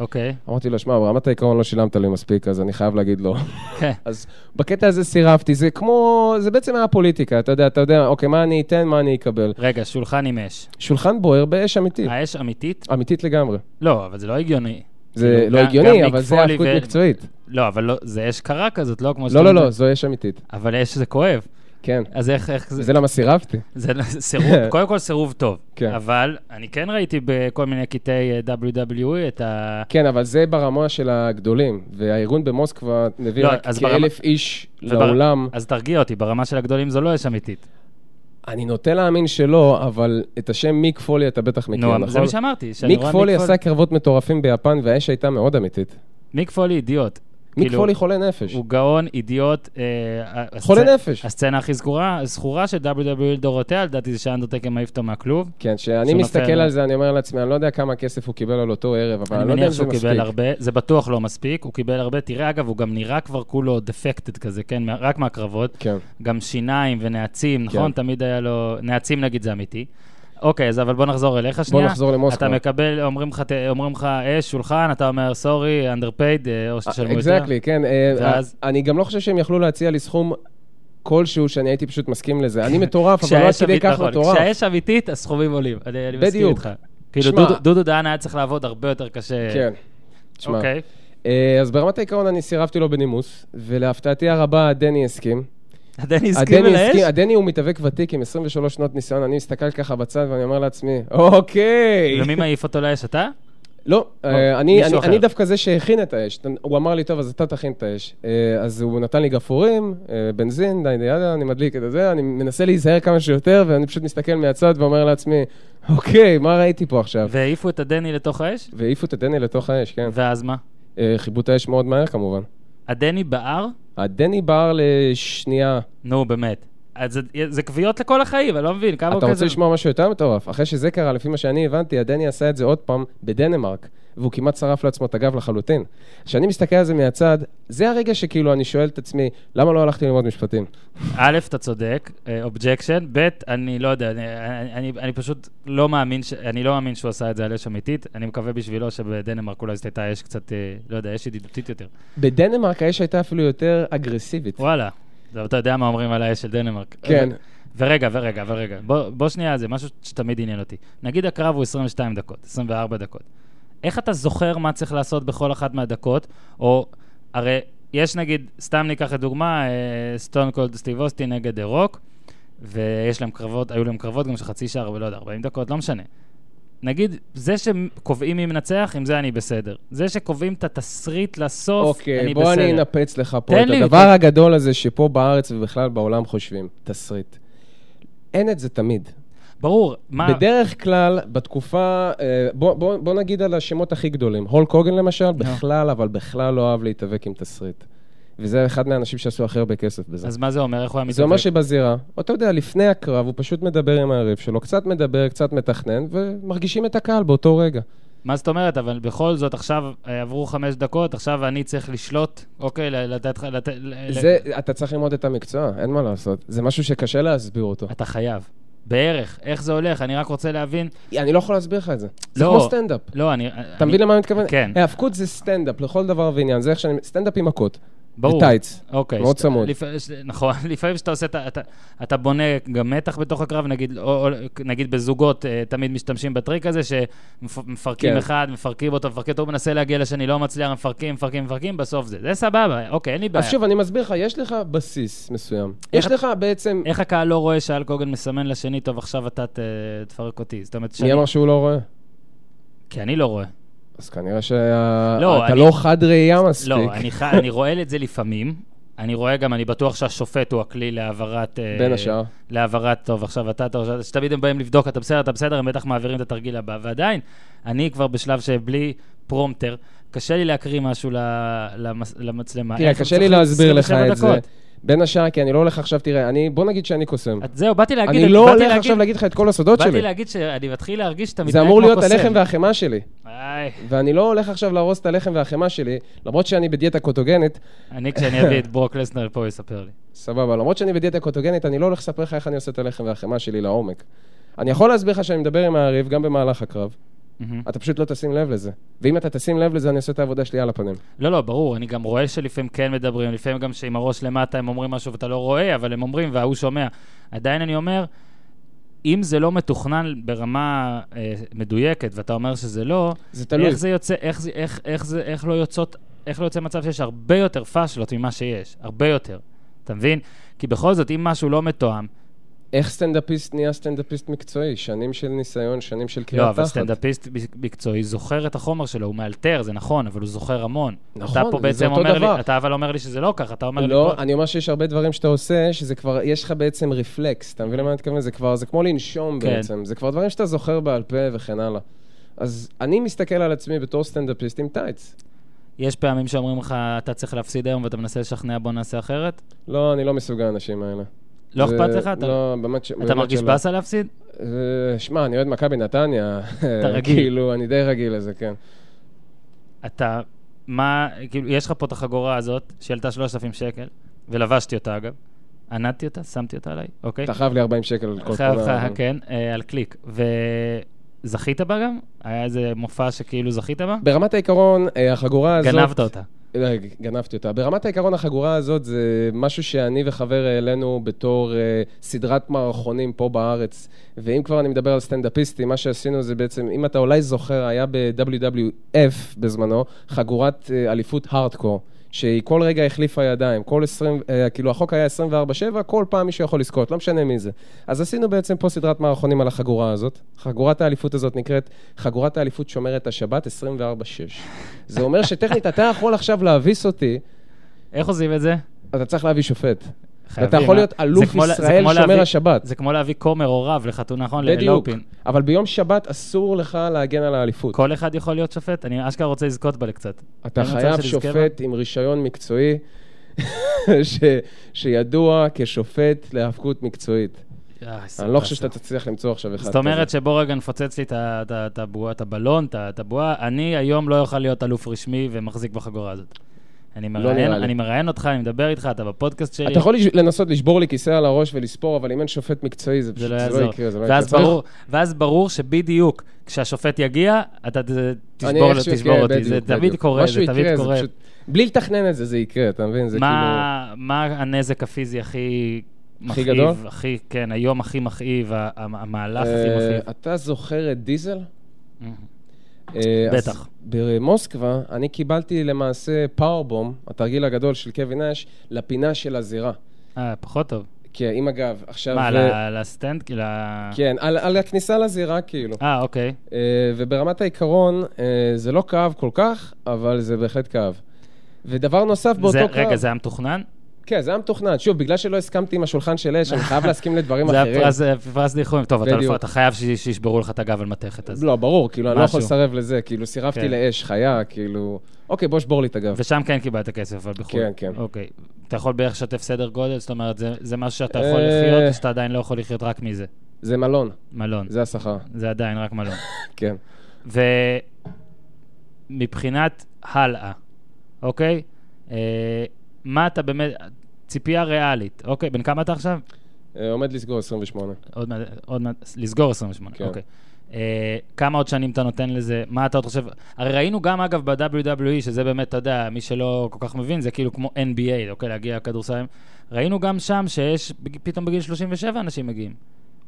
A: אוקיי.
B: אמרתי לו, שמע, ברמת העיקרון לא שילמת לי מספיק, אז אני חייב להגיד לא.
A: כן.
B: אז (laughs) בקטע הזה סירבתי, זה כמו, זה בעצם היה פוליטיקה, אתה יודע, אתה יודע, אוקיי, מה אני אתן, מה אני אקבל.
A: רגע, שולחן עם אש.
B: שולחן בוער באש אמיתית,
A: האש אמיתית?
B: אמיתית לגמרי.
A: לא, אבל זה לא הגיוני.
B: זה
A: כאילו,
B: לא
A: אה. גם- גם
B: הגיוני,
A: ניק
B: אבל זה
A: פולי
B: האבקות
A: ו-
B: מקצועית.
A: לא, אבל לא, זה אש קרה כזאת, לא כמו
B: לא, לא, לא,
A: אומר.
B: זו אש אמיתית.
A: אבל אש זה כואב.
B: כן.
A: אז איך, איך זה...
B: זה למה סירבתי.
A: זה
B: (laughs)
A: סירוב, קודם כל סירוב טוב.
B: כן. אבל
A: אבל אני כן ראיתי בכל מיני קטעי אה, WWE את ה...
B: כן, אבל זה ברמה של הגדולים, והארגון במוסקבה מביא
A: לא,
B: רק
A: אז
B: כאלף איש
A: ובר-
B: לאולם.
A: אז תרגיע אותי, ברמה של הגדולים זו לא אש אמיתית.
B: אני נוטה להאמין שלא, אבל את השם מיק פולי אתה בטח מכיר,
A: נו, זה
B: נכון?
A: מה שאמרתי. שאני
B: מיק
A: רואה
B: פולי עשה קרבות מטורפים ביפן, והאש הייתה מאוד אמיתית.
A: מיק פולי אידיוט.
B: מיק
A: כאילו,
B: פולי חולה נפש.
A: הוא גאון, אידיוט. אה, ה-
B: חולה
A: הסצנה-
B: נפש.
A: הסצנה הכי זכורה- זכורה של WWE לדורותיה, לדעתי זה שאנדרטקר מעיף אותו מהכלוב.
B: כן, כשאני
A: שהוא
B: מסתכל
A: נופל.
B: על זה, אני אומר לעצמי, אני לא יודע כמה כסף הוא קיבל על אותו ערב, אבל אני
A: אני
B: לא יודע
A: מניח
B: אם זה
A: שהוא
B: מספיק.
A: קיבל הרבה, זה בטוח לא מספיק, הוא קיבל הרבה. תראה, אגב, הוא גם נראה כבר כולו דפקטד כזה, כן? מה- רק מהקרבות.
B: כן.
A: גם שיניים ונעצים, נכון?
B: כן.
A: תמיד היה לו... נעצים נגיד זה אמיתי. אוקיי, אז אבל בוא נחזור אליך שנייה.
B: נחזור למוסקבה.
A: אתה מקבל, אומרים לך, ת- אומרים לך, אש, שולחן, אתה אומר, סורי, underpaid, אה, או שתשלמו יותר.
B: אקזקטלי, כן. אה,
A: ואז-
B: אני גם לא חושב שהם יכלו להציע לי סכום כלשהו שאני הייתי פשוט מסכים לזה. אני מטורף, אבל לא עד
A: כשהאש
B: כדי
A: אמיתית,
B: כך
A: נכון,
B: מטורף.
A: כשהאש אמיתית, הסכומים עולים. אני אני מסכים
B: בדיוק.
A: איתך. כאילו,
B: שמע-
A: דודו- דודו דהן היה צריך לעבוד הרבה יותר קשה.
B: כן. תשמע,
A: אוקיי.
B: אה, אז ברמת העיקרון אני סירבתי לו בנימוס, ולהפתעתי הרבה דני הסכים.
A: הדני הסכים
B: הדני
A: על האש?
B: הדני הוא מתאבק ותיק עם 23 שנות ניסיון, אני מסתכל ככה בצד ואני אומר לעצמי, אוקיי.
A: ומי מעיף אותו לאש, אתה?
B: לא, אה, אני,
A: אוקיי, מישהו
B: אני,
A: אחר.
B: אני דווקא זה שהכין את האש. הוא אמר לי, טוב, אז אתה תכין את האש. אה, אז הוא נתן לי גפרורים, אה, בנזין, די, די, יאללה, אני מדליק את זה, אני מנסה להיזהר כמה שיותר, ואני פשוט מסתכל מהצד ואומר לעצמי, אוקיי, מה ראיתי פה עכשיו?
A: והעיפו את הדני לתוך האש?
B: והעיפו את הדני לתוך האש, כן.
A: ואז מה?
B: אה, חיבו את האש מאוד מהר כמובן.
A: הדני בער?
B: הדני בער לשנייה.
A: נו, באמת. אז זה- זה כוויות לכל החיים, אני לא מבין, כמה הוא
B: אתה
A: כזה...
B: רוצה לשמוע משהו יותר מטורף? אחרי שזה קרה, לפי מה שאני הבנתי, הדני עשה את זה עוד פעם בדנמרק, והוא כמעט שרף לעצמו את הגב לחלוטין. כשאני מסתכל על זה מהצד, זה הרגע שכאילו אני שואל את עצמי, למה לא הלכתי ללמוד משפטים?
A: א', אתה צודק, אובג'קשן, ב', אני לא יודע, אני, אני, אני פשוט לא מאמין, ש, אני לא מאמין שהוא עשה את זה על אש אמיתית, אני מקווה בשבילו שבדנמרק אולי זאת הייתה אש קצת, אה, לא יודע, אש ידידותית יותר.
B: בדנמרק האש הייתה אפילו יותר אגרסיבית.
A: וואלה, טוב, אתה יודע מה אומרים על האש של דנמרק.
B: כן.
A: ורגע, ורגע, ורגע, בוא, בוא שנייה, זה משהו שתמיד עניין אותי. נגיד הקרב הוא 22 דקות, 24 דקות. איך אתה זוכר מה צריך לעשות בכל אחת מהדקות, או הרי יש נגיד, סתם ניקח אה, לדוגמה, סטון קולד סטיב אוסטי נגד דה רוק, ויש להם קרבות, היו להם קרבות גם של חצי שעה, אבל לא יודע, 40 דקות, לא משנה. נגיד, זה שקובעים מי מנצח, עם זה אני בסדר. זה שקובעים את התסריט לסוף,
B: אוקיי,
A: אני
B: בוא
A: בסדר.
B: אני אנפץ לך פה
A: תן
B: את
A: לי,
B: הדבר
A: תן-
B: הגדול הזה שפה בארץ ובכלל בעולם חושבים, תסריט. אין את זה תמיד.
A: ברור, מה...
B: בדרך כלל, בתקופה, אה, בוא, בוא, בוא נגיד על השמות הכי גדולים. הולק הוגן למשל, בכלל, אבל בכלל לא אהב להתאבק עם תסריט. וזה אחד מהאנשים שעשו הכי הרבה כסף בזה.
A: אז מה זה אומר? איך הוא היה
B: זה אומר
A: מתאבק?
B: שבזירה, אתה יודע, לפני הקרב הוא פשוט מדבר עם היריב שלו, קצת מדבר, קצת מתכנן, ומרגישים את הקהל באותו רגע.
A: מה זאת אומרת? אבל בכל זאת, עכשיו אה, עברו חמש דקות, עכשיו אני צריך לשלוט, אוקיי, ל- לתת לך... לת- ל-
B: זה, אתה צריך ללמוד את המקצוע, אין מה לעשות. זה משהו שקשה להסביר אותו.
A: אתה חייב. בערך. איך זה הולך? אני רק רוצה להבין.
B: אני לא יכול להסביר לך את זה. זה
A: לא.
B: כמו סטנדאפ.
A: לא, אני...
B: אתה מבין למה אני מתכוון?
A: כן.
B: האבקות זה סטנדאפ לכל דבר ועניין, זה איך שאני... סטנדאפ עם מכות.
A: ברור.
B: וטייץ.
A: אוקיי.
B: מאוד
A: שת-
B: צמוד.
A: לפ... ש... נכון, (laughs) לפעמים שאתה עושה, את ה- אתה, אתה בונה גם מתח בתוך הקרב, נגיד, או, או, נגיד בזוגות אה, תמיד משתמשים בטריק הזה, שמפרקים
B: כן.
A: כן. אחד, מפרקים אותו, מפרקים אותו, הוא מנסה להגיע לשני, לא מצליח, מפרקים, מפרקים, מפרקים, בסוף זה. זה סבבה, אוקיי, אין לי בעיה.
B: אז שוב, אני מסביר לך, יש לך בסיס מסוים. יש לך בעצם...
A: איך הקהל לא רואה שאלק הוגן מסמן לשני, טוב, עכשיו אתה ת... תפרק אותי? זאת אומרת, שאני...
B: מי אמר שהוא לא רואה?
A: כי אני לא רואה.
B: אז כנראה שאתה
A: לא, אני-
B: לא חד ראייה מספיק.
A: לא, אני, ח... אני רואה את זה לפעמים. אני רואה גם, אני בטוח שהשופט הוא הכלי להעברת... אה,
B: בין השאר.
A: להעברת טוב, עכשיו אתה, טוב, עכשיו- שתמיד הם באים לבדוק, אתה בסדר, אתה בסדר, הם בטח מעבירים את התרגיל הבא. ועדיין, אני כבר בשלב שבלי פרומטר, קשה לי להקריא משהו ל- למס- למצלמה.
B: תראה,
A: איך
B: קשה
A: אני
B: לי
A: צריך
B: להסביר לך
A: 27
B: את זה.
A: דקות?
B: בין השאר, כי אני לא הולך עכשיו, תראה, אני, בוא נגיד שאני קוסם.
A: את- זהו, באתי להגיד...
B: אני לא
A: באתי
B: הולך
A: להגיד-
B: עכשיו להגיד לך את כל הסודות
A: באתי
B: שלי.
A: להגיד שאני מתחיל להרגיש שאתה
B: זה
A: מתנהג
B: אמור
A: כמו
B: להיות
A: קוסם.
B: הלחם והחמאה שלי.
A: איי,
B: ואני לא הולך עכשיו להרוס את הלחם והחמאה שלי, למרות שאני בדיאטה קוטוגנית,
A: אני, כשאני אביא את ברוק לסנר לפה, הוא יספר לי.
B: סבבה, למרות שאני בדיאטה קוטוגנית, אני לא הולך לספר לך איך אני עושה את הלחם והחמאה שלי לעומק. אני יכול להסביר לך שאני מדבר עם היריב גם במהלך הקרב,
A: מהמם.
B: אתה פשוט לא תשים לב לזה. ואם אתה תשים לב לזה, אני עושה את העבודה שלי על הפנים.
A: לא, לא, ברור, אני גם רואה שלפעמים כן מדברים, לפעמים גם שעם הראש למטה הם אומרים משהו ואתה לא רואה, אבל הם אומרים וההוא שומע. עדיין אני אומר, אם זה לא מתוכנן ברמה אה, מדויקת, ואתה אומר שזה לא,
B: זה תלוי.
A: איך זה יוצא, איך, זה, איך, איך, זה, איך לא יוצאות, איך לא יוצא מצב שיש הרבה יותר פאשלות ממה שיש, הרבה יותר, אתה מבין? כי בכל זאת, אם משהו לא מתואם,
B: איך סטנדאפיסט נהיה סטנדאפיסט מקצועי? שנים של ניסיון, שנים של קריאה
A: לא,
B: תחת.
A: אבל סטנדאפיסט מקצועי זוכר את החומר שלו, הוא מאלתר, זה נכון, אבל הוא זוכר המון.
B: נכון,
A: אתה פה
B: זה
A: בעצם
B: אותו
A: אומר
B: דבר.
A: לי, אתה אבל אומר לי שזה לא ככה, אתה אומר לי...
B: לא,
A: פה-
B: אני אומר שיש הרבה דברים שאתה עושה, שזה כבר, יש לך בעצם רפלקס, אתה מבין למה אני מתכוון? זה כבר, זה כמו לנשום
A: כן.
B: בעצם, זה כבר דברים שאתה זוכר בעל פה וכן הלאה. אז אני מסתכל על עצמי בתור סטנדאפיסט עם טייץ.
A: יש פעמים שאומרים לך, אתה צריך להפסיד היום ואתה מנסה לשכנע, בוא נעשה אחרת?
B: לא, אני לא מסוג האנשים האלה.
A: לא
B: זה-
A: אכפת לך? אתה-
B: לא, באמת ש...
A: אתה
B: באמת
A: מרגיש
B: שלא.
A: באסה להפסיד?
B: אה, שמע, אני אוהד מכבי נתניה.
A: רגיל.
B: (laughs) כאילו, אני די רגיל לזה, כן.
A: אתה, מה, כאילו, יש לך פה את החגורה הזאת, שעלתה 3,000 שקל, ולבשתי אותה אגב. ענדתי אותה, שמתי אותה עליי, אוקיי?
B: אתה חייב לי 40 שקל על כל
A: חייב לך,
B: אבל-
A: כן, אה, על קליק. וזכית בה גם? היה איזה מופע שכאילו זכית בה?
B: ברמת העיקרון, אה, החגורה הזאת...
A: גנבת אותה.
B: לא, גנבתי אותה. ברמת העיקרון, החגורה הזאת זה משהו שאני וחבר העלינו בתור אה, סדרת מערכונים פה בארץ. ואם כבר אני מדבר על סטנדאפיסטים, מה שעשינו זה בעצם, אם אתה אולי זוכר, היה ב-WWF בזמנו, חגורת אה, אליפות הארדקור, שהיא כל רגע החליפה ידיים. כל 20, אה, כאילו החוק היה 24-7, כל פעם מישהו יכול לזכות, לא משנה מי זה. אז עשינו בעצם פה סדרת מערכונים על החגורה הזאת. חגורת האליפות הזאת נקראת חגורת האליפות שומרת השבת 24-6. זה אומר שטכנית אתה יכול עכשיו להביס אותי,
A: איך עושים את זה?
B: אתה צריך להביא שופט.
A: חייבים,
B: ואתה יכול
A: אה?
B: להיות אלוף
A: זה כמו לה- זה
B: ישראל
A: כמו
B: שומר
A: להביא-
B: השבת.
A: זה כמו להביא כומר או רב לחתונה, נכון?
B: בדיוק.
A: ללופין.
B: אבל ביום שבת אסור לך להגן על האליפות.
A: כל אחד יכול להיות שופט? אני אשכרה רוצה לזכות בה לקצת.
B: אתה
A: אני רוצה
B: חייב
A: שתזכה בה.
B: שופט עם רישיון מקצועי, (laughs) ש... שידוע כשופט להיאבקות מקצועית.
A: אה,
B: אני לא
A: סבבה,
B: חושב שאתה תצליח למצוא עכשיו אחד.
A: זאת אומרת
B: כזה.
A: שבוא רגע נפוצץ לי את ה- את ה- את הבועה, את הבלון, את ה- את הבועה. אני היום לא אוכל להיות אלוף רשמי ומחזיק בחגורה הזאת. אני
B: לא נראה
A: מראיין,
B: לי.
A: אני מראיין אותך, אני מדבר איתך, אתה בפודקאסט שלי.
B: אתה יכול לש- לנסות לשבור לי כיסא על הראש ולספור, אבל אם אין שופט מקצועי, זה
A: זה
B: פשוט
A: לא
B: זה לא
A: יעזור.
B: יקרה. זה לא יקרה.
A: ואז
B: צריך-
A: ברור- ואז ברור שבדיוק כשהשופט יגיע, אתה ת-
B: אני
A: תשבור לו-
B: איכשהו-
A: תשבור
B: כן,
A: אותי. זה
B: בדיוק,
A: תמיד
B: בדיוק.
A: קורה, זה
B: משהו
A: תמיד
B: יקרה,
A: קורה.
B: פשוט- בלי לתכנן את זה, זה יקרה, אתה מבין? זה כאילו...
A: מה מה הנזק הפיזי הכי מכאיב?
B: גדול?
A: הכי, כן, היום הכי מכאיב, ה- ה- המהלך הכי
B: אה,
A: מכאיב.
B: אתה זוכר את דיזל? אה, אז
A: בטח.
B: במוסקבה, אני קיבלתי למעשה פאורבום, התרגיל הגדול של קווין אש, לפינה של הזירה.
A: אה, פחות טוב.
B: כן, עם הגב. עכשיו...
A: מה,
B: אה,
A: ל- לסטנד? כאילו... ל-
B: כן, על, על הכניסה לזירה, כאילו.
A: אה, אוקיי.
B: אה, וברמת העיקרון, אה, זה לא כאב כל כך, אבל זה בהחלט כאב. ודבר נוסף באותו
A: זה-
B: קרב...
A: רגע, זה היה מתוכנן?
B: כן, זה היה מתוכנן. שוב, בגלל שלא הסכמתי עם השולחן של אש, אני
A: (laughs)
B: חייב להסכים לדברים
A: זה
B: אחרים.
A: היה פרס- אה, פרס דיחויים. טוב, אתה
B: בדיוק.
A: לפ- אתה חייב ש- שישברו לך את הגב על מתכת. אז-
B: לא, ברור, כאילו, אני לא
A: משהו.
B: יכול לסרב לזה, כאילו, סירבתי
A: כן.
B: לאש, חיה, כאילו... אוקיי, בוא שבור לי את הגב.
A: ושם כן קיבלת כסף, אבל בחו"ל.
B: כן, כן.
A: אוקיי. אתה יכול בערך לשתף סדר גודל? זאת אומרת, זה- זה משהו שאתה יכול
B: אה.
A: לחיות, או שאתה עדיין לא יכול לחיות רק מזה?
B: זה מלון,
A: מלון.
B: זה השכר,
A: זה עדיין רק מלון.
B: כן.
A: ומבחינת הלאה, אוקיי? אה, מה אתה באמת... ציפייה ריאלית, אוקיי? בן כמה אתה עכשיו?
B: אה, עומד לסגור 28.
A: עוד מעט, עוד מעט, לסגור 28,
B: כן.
A: אוקיי. אה, כמה עוד שנים אתה נותן לזה? מה אתה עוד חושב? הרי ראינו גם, אגב, ב-WWE, שזה באמת, אתה יודע, מי שלא כל כך מבין, זה כאילו כמו NBA, אוקיי, להגיע לכדורסלים. ראינו גם שם שיש, פתאום בגיל 37 אנשים מגיעים.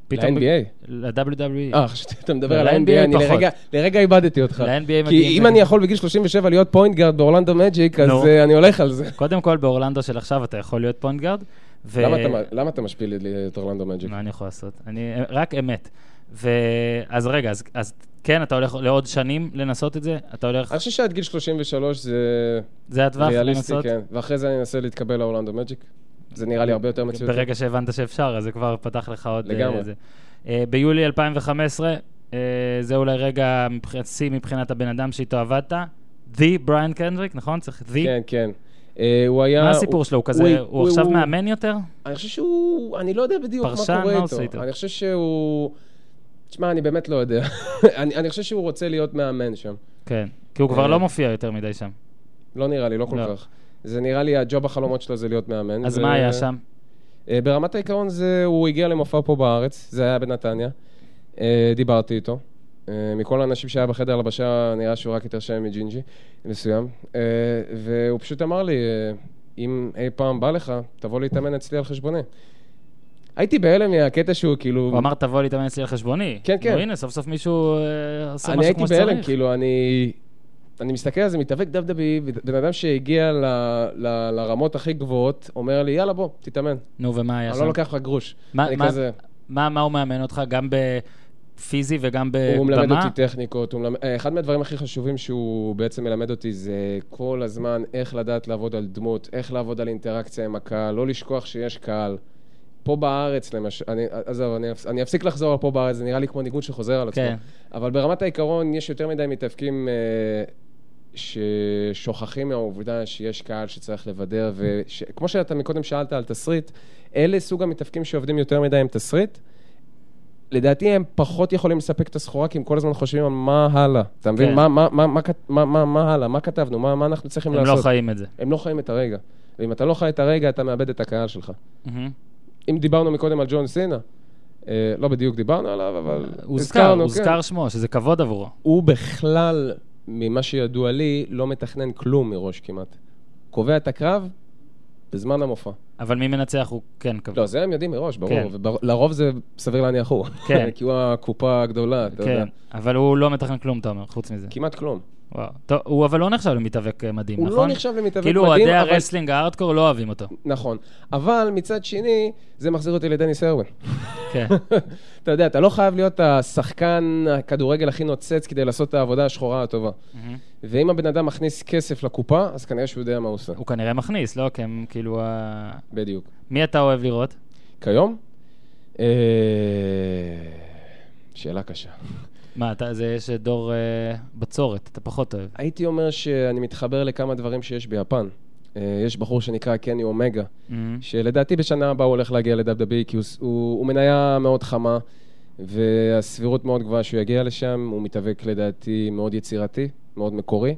A: פתאום בג-
B: ל-NBA?
A: ל-WWE.
B: אה, חשבתי, אתה מדבר על
A: ל-
B: ה-NBA, אני
A: NBA
B: לרגע- לרגע איבדתי אותך.
A: ל-NBA
B: כי
A: מגיעים-
B: אם אני יכול בגיל 37 להיות פוינט גארד באורלנדו מג'יק, אז
A: נו.
B: אה, אני הולך על זה.
A: קודם כל, באורלנדו של עכשיו אתה יכול להיות פוינט גארד. ו-
B: למה אתה- למה אתה משפיל לי את אורלנדו מג'יק?
A: מה אני יכול לעשות? אני, רק אמת. ו... אז רגע, אז, אז כן, אתה הולך לעוד שנים לנסות את זה? אתה הולך...
B: אני חושב שעד גיל 33 זה
A: זה הטווח
B: אה, ריאליסטי,
A: לנסות?
B: כן. ואחרי זה אני אנסה להתקבל לאורלנדו מג'יק. זה נראה לי הרבה יותר מציאותי.
A: ברגע שהבנת שאפשר, אז זה כבר פתח לך עוד... אה,
B: לגמרי.
A: זה. אה, ביולי 2015, אה, זה אולי רגע מבחינת- שיא מבחינת הבן אדם שאיתו עבדת. The בריאן קנדריק, נכון? צריך the?
B: כן, כן. אה, הוא היה...
A: מה הסיפור שלו? הוא כזה, הוא עכשיו מאמן יותר?
B: אני חושב שהוא... אני לא יודע בדיוק מה
A: פרשן? מה
B: קורה
A: עושה איתו?
B: איתו. אני חושב שהוא... תשמע, אני באמת לא יודע. (laughs) אני אני חושב שהוא רוצה להיות מאמן שם.
A: כן. כי הוא כבר
B: אה,
A: לא מופיע יותר מדי שם.
B: לא נראה לי, לא כל
A: לא.
B: כך. זה נראה לי הג'וב החלומות שלו זה להיות מאמן.
A: אז
B: ו-
A: מה היה שם?
B: אה, ברמת העיקרון זה, הוא הגיע למופע פה בארץ, זה היה בנתניה. אה, דיברתי איתו. אה, מכל האנשים שהיה בחדר הלבשה, נראה שהוא רק יותר שם מג'ינג'י, מסוים. אה, והוא פשוט אמר לי, אה, אם אי פעם בא לך, תבוא להתאמן אצלי על חשבוני. הייתי בהלם מהקטע שהוא כאילו...
A: הוא אמר, תבוא להתאמן אצלי על חשבוני.
B: כן, כן.
A: נו, הנה, סוף סוף מישהו אה, עושה
B: אני
A: משהו
B: הייתי
A: כמו שצריך.
B: בהלם, כאילו, אני... אני מסתכל על זה, מתאבק דבדבי, בן אדם שהגיע ל, ל, לרמות הכי גבוהות, אומר לי, יאללה, בוא, תתאמן.
A: נו, ומה היה
B: אני
A: שם?
B: לא לוקח לך גרוש.
A: אה, מה-
B: אני
A: מה-
B: כזה,
A: מה מה הוא מאמן אותך? גם בפיזי וגם בבמה?
B: הוא מלמד אותי טכניקות, הוא מלמד... אה, אחד מהדברים הכי חשובים שהוא בעצם מלמד אותי זה כל הזמן איך לדעת לעבוד על דמות, איך לעבוד על אינטראקציה עם הקהל, לא לשכוח שיש קהל. פה בארץ, למשל, אני, עזוב, אני, אפס- אני אפסיק לחזור על פה בארץ, זה נראה לי כמו ניגון שחוזר על עצמו.
A: כן.
B: אבל ברמת העיקרון, יש יותר מדי מתאבקים אה, ששוכחים מהעובדה שיש קהל שצריך לבדר, וכמו שאתה מקודם שאלת על תסריט, אלה סוג המתאבקים שעובדים יותר מדי עם תסריט. לדעתי הם פחות יכולים לספק את הסחורה, כי הם כל הזמן חושבים על מה הלאה. אתה מבין?
A: כן.
B: מה, מה, מה, מה, כת- מה, מה, מה הלאה? מה כתבנו? מה, מה אנחנו צריכים
A: הם
B: לעשות?
A: לא חיים את זה.
B: הם לא חיים את הרגע. ואם אתה לא חי את הרגע, אתה מאבד את הקהל שלך.
A: מהמם.
B: אם דיברנו מקודם על ג'ון סינה, אה, לא בדיוק דיברנו עליו, אבל
A: Mm-hmm. הוזכר,
B: הזכרנו, כן.
A: הוזכר שמו, שזה כבוד עבורו.
B: הוא בכלל, ממה שידוע לי, לא מתכנן כלום מראש כמעט. קובע את הקרב בזמן המופע.
A: אבל מי מנצח הוא כן כבוד.
B: לא, זה הם יודעים מראש, ברור.
A: כן.
B: ובר- לרוב זה סביר להניח הוא.
A: כן.
B: (laughs) כי הוא הקופה הגדולה, אתה יודע.
A: כן, אבל הוא לא מתכנן כלום, אתה אומר, חוץ מזה.
B: כמעט כלום.
A: וואו. טוב, הוא אבל לא נחשב למתאבק אה, מדהים,
B: הוא
A: נכון?
B: לא נחשב למתאבק
A: כאילו
B: מדהים,
A: אוהדי
B: אבל-
A: הרסלינג הארדקור לא אוהבים
B: (laughs)
A: אותו.
B: נכון. אבל מצד שני, זה מחזיר אותי לדניס הרווין.
A: כן.
B: אתה יודע, אתה לא חייב להיות השחקן הכדורגל הכי נוצץ כדי לעשות את העבודה השחורה הטובה.
A: מהמם.
B: ואם הבן אדם מכניס כסף לקופה, אז כנראה שהוא יודע מה הוא עושה.
A: הוא כנראה מכניס, לא? כי הם כאילו... ה-
B: בדיוק.
A: מי אתה אוהב לראות?
B: כיום? אה, שאלה קשה.
A: מה, אתה, זה יש דור אה, בצורת, אתה פחות אוהב.
B: הייתי אומר שאני מתחבר לכמה דברים שיש ביפן. אה, יש בחור שנקרא קני אומגה,
A: מהמם.
B: שלדעתי בשנה הבאה הוא הולך להגיע לדאבדאבי, כי הוא, ס- הוא, הוא מניה מאוד חמה, והסבירות מאוד גבוהה שהוא יגיע לשם, הוא מתאבק לדעתי מאוד יצירתי, מאוד מקורי,